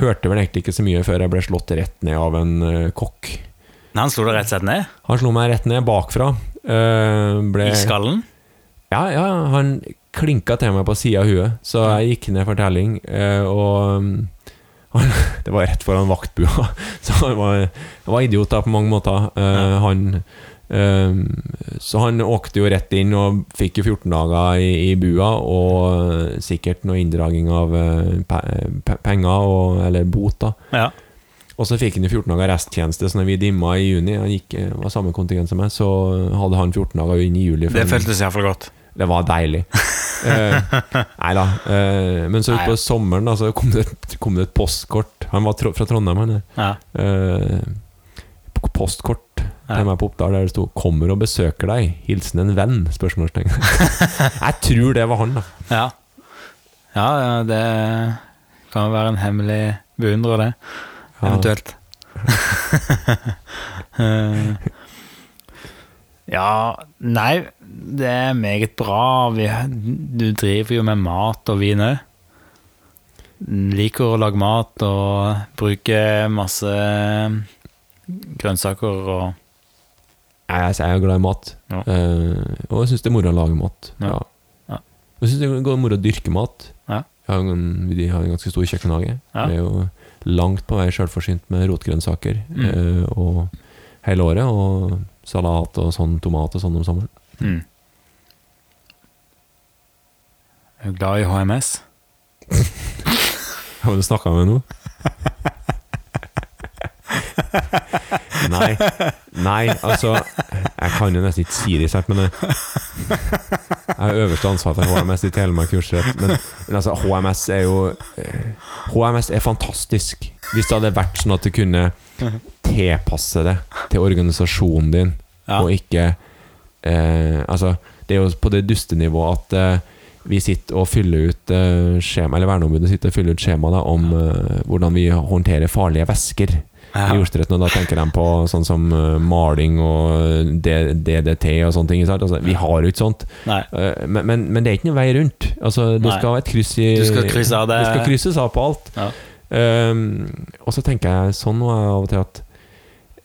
Speaker 2: hørte vel egentlig ikke så mye før jeg ble slått rett ned av en eh, kokk.
Speaker 1: Men Han slo deg rett og slett ned?
Speaker 2: Han slo meg rett ned bakfra. eh, ble,
Speaker 1: I skallen?
Speaker 2: ja, ja, han klinka til meg på sida av huet, så jeg gikk ned for telling, eh, og mm, han, det var rett foran vaktbua, så han var, han var idiot da på mange måter. eh, Han eh, Så han åkte jo rett inn og fikk jo 14 dager i, i bua, og eh, sikkert noe inndraging av eh, pe pe penger, og, eller bot, da.
Speaker 1: Ja.
Speaker 2: Og så fikk han jo 14 dager resttjeneste, så når vi dimma i juni, han gikk, eh, var samme kontingent som meg, så hadde han 14 dager inn i juli. for
Speaker 1: Det
Speaker 2: han-
Speaker 1: føltes iallfall godt.
Speaker 2: det var deilig. Eh, nei da. Eh, men så
Speaker 1: Nei.
Speaker 2: utpå sommeren da, så kom, det, kom det et postkort. Han var tro, fra Trondheim, han der.
Speaker 1: Ja.
Speaker 2: Eh, p- postkort
Speaker 1: Ja.
Speaker 2: til meg på Oppdal der det sto 'Kommer og besøker deg. Hilsen en venn?' Spørsmålstegn. Jeg tror det var han, da.
Speaker 1: ja. Ja, ja, det kan jo være en hemmelig beundrer, det.
Speaker 2: Ja.
Speaker 1: Eventuelt. Eh, ja, nei, det er meget bra. Vi, du driver jo med mat og vin òg. Liker å lage mat og bruke masse grønnsaker og
Speaker 2: Nei, Jeg, jeg er glad i mat.
Speaker 1: Ja.
Speaker 2: Eh, og jeg syns det er moro å lage mat.
Speaker 1: Ja.
Speaker 2: Ja.
Speaker 1: Ja.
Speaker 2: Jeg syns det er moro å dyrke mat.
Speaker 1: Ja.
Speaker 2: Jeg har en, de har en ganske stor kjøkkenhage.
Speaker 1: Ja.
Speaker 2: Vi er jo langt på vei sjølforsynt med rotgrønnsaker
Speaker 1: Mm.
Speaker 2: eh, og hele året. Og salat og sånn tomat og sånn om sommeren.
Speaker 1: Mm. Er du glad i HMS?
Speaker 2: Har du snakka med noe? Nei. Nei, altså Jeg kan jo nesten ikke si det, sant, men eh, Jeg har øverste ansvar for HMS i Telemark kursrett, men, men altså, HMS er jo eh, HMS er fantastisk. Hvis det hadde vært sånn at du kunne tilpasse det til organisasjonen din,
Speaker 1: Ja.
Speaker 2: og ikke eh, Altså, det er jo på det dustenivået at eh, vi sitter og fyller ut eh, skjema, eller verneombudet sitter og fyller ut skjema da, om eh, hvordan vi håndterer farlige væsker
Speaker 1: Ja.
Speaker 2: i jordstretten. Og da tenker de på sånn som eh, maling og eh, D- DDT og sånne ting. ikke sant? Altså, vi har jo ikke sånt.
Speaker 1: Nei.
Speaker 2: Eh, Men, men, men det er ikke noen vei rundt. Altså, du
Speaker 1: Nei.
Speaker 2: skal ha et kryss i
Speaker 1: Du skal krysse av det.
Speaker 2: det skal krysses av på alt.
Speaker 1: Ja.
Speaker 2: Ehm, og så tenker jeg sånn nå av og til at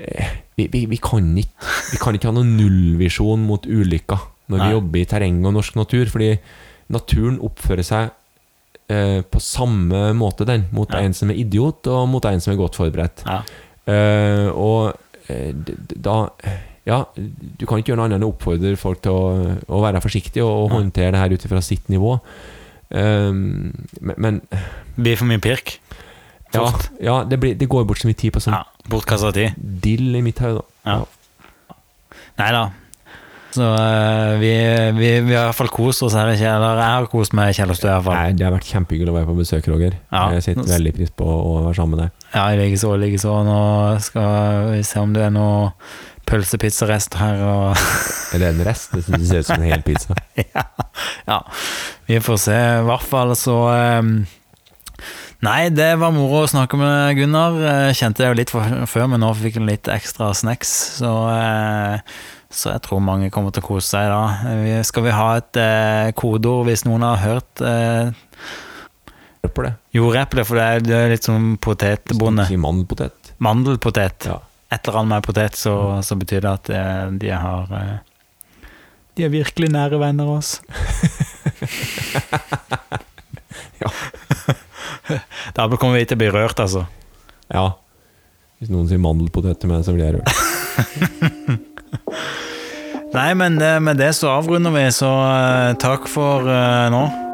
Speaker 2: eh, vi, vi, vi, kan ikke, vi kan ikke ha noen nullvisjon mot ulykker når
Speaker 1: Nei.
Speaker 2: vi jobber i terreng og norsk natur, fordi naturen oppfører seg eh, på samme måte den, mot
Speaker 1: Ja.
Speaker 2: en som er idiot og mot en som er godt forberedt.
Speaker 1: Ja.
Speaker 2: Eh, og eh, d- d- da Ja, du kan ikke gjøre noe annet enn å oppfordre folk til å, å være forsiktige og, og
Speaker 1: Nei.
Speaker 2: håndtere det her ut ifra sitt nivå. Ehm, men, men
Speaker 1: Blir for mye pirk.
Speaker 2: ja,
Speaker 1: Fort.
Speaker 2: ja det, blir, det går bort så mye tid på sånn
Speaker 1: Ja. Bortkasta tid.
Speaker 2: dill i mitt hode. da.
Speaker 1: Ja. Nei da. Så eh, vi, vi, vi har i hvert fall kost oss her i Kjell, eller jeg har kost meg i Kjellerstua i hvert fall.
Speaker 2: Nei, det har vært kjempehyggelig å være på besøk, Roger.
Speaker 1: Ja.
Speaker 2: Jeg setter veldig pris på å være sammen med deg.
Speaker 1: Ja, jeg ligger så, jeg ligger så. Nå skal vi se om det er noe pølsepizzarest her og
Speaker 2: Er det en rest? Det synes jeg ser ut som en hel pizza.
Speaker 1: ja. ja. Vi får se. I hvert fall så eh, Nei, det var moro å snakke med Gunnar. Jeg Kjente det jo litt for- før, men nå fikk han litt ekstra snacks, så eh, så jeg tror mange kommer til å kose seg da. Vi- Skal vi ha et eh, kodeord hvis noen har hørt eh,
Speaker 2: Hør på det.
Speaker 1: Jordeple, for det er, det er litt som potetbonde.
Speaker 2: Si mandelpotet.
Speaker 1: Mandelpotet.
Speaker 2: Ja.
Speaker 1: Et eller annet med potet, så, så betyr det at eh, de har eh, De er virkelig nære venner av oss.
Speaker 2: Ja.
Speaker 1: da kommer vi til å bli rørt, altså.
Speaker 2: ja. Hvis noen sier mandelpotet til meg, så blir jeg rørt.
Speaker 1: Nei, men det, med det så avrunder vi, så eh, takk for eh, nå.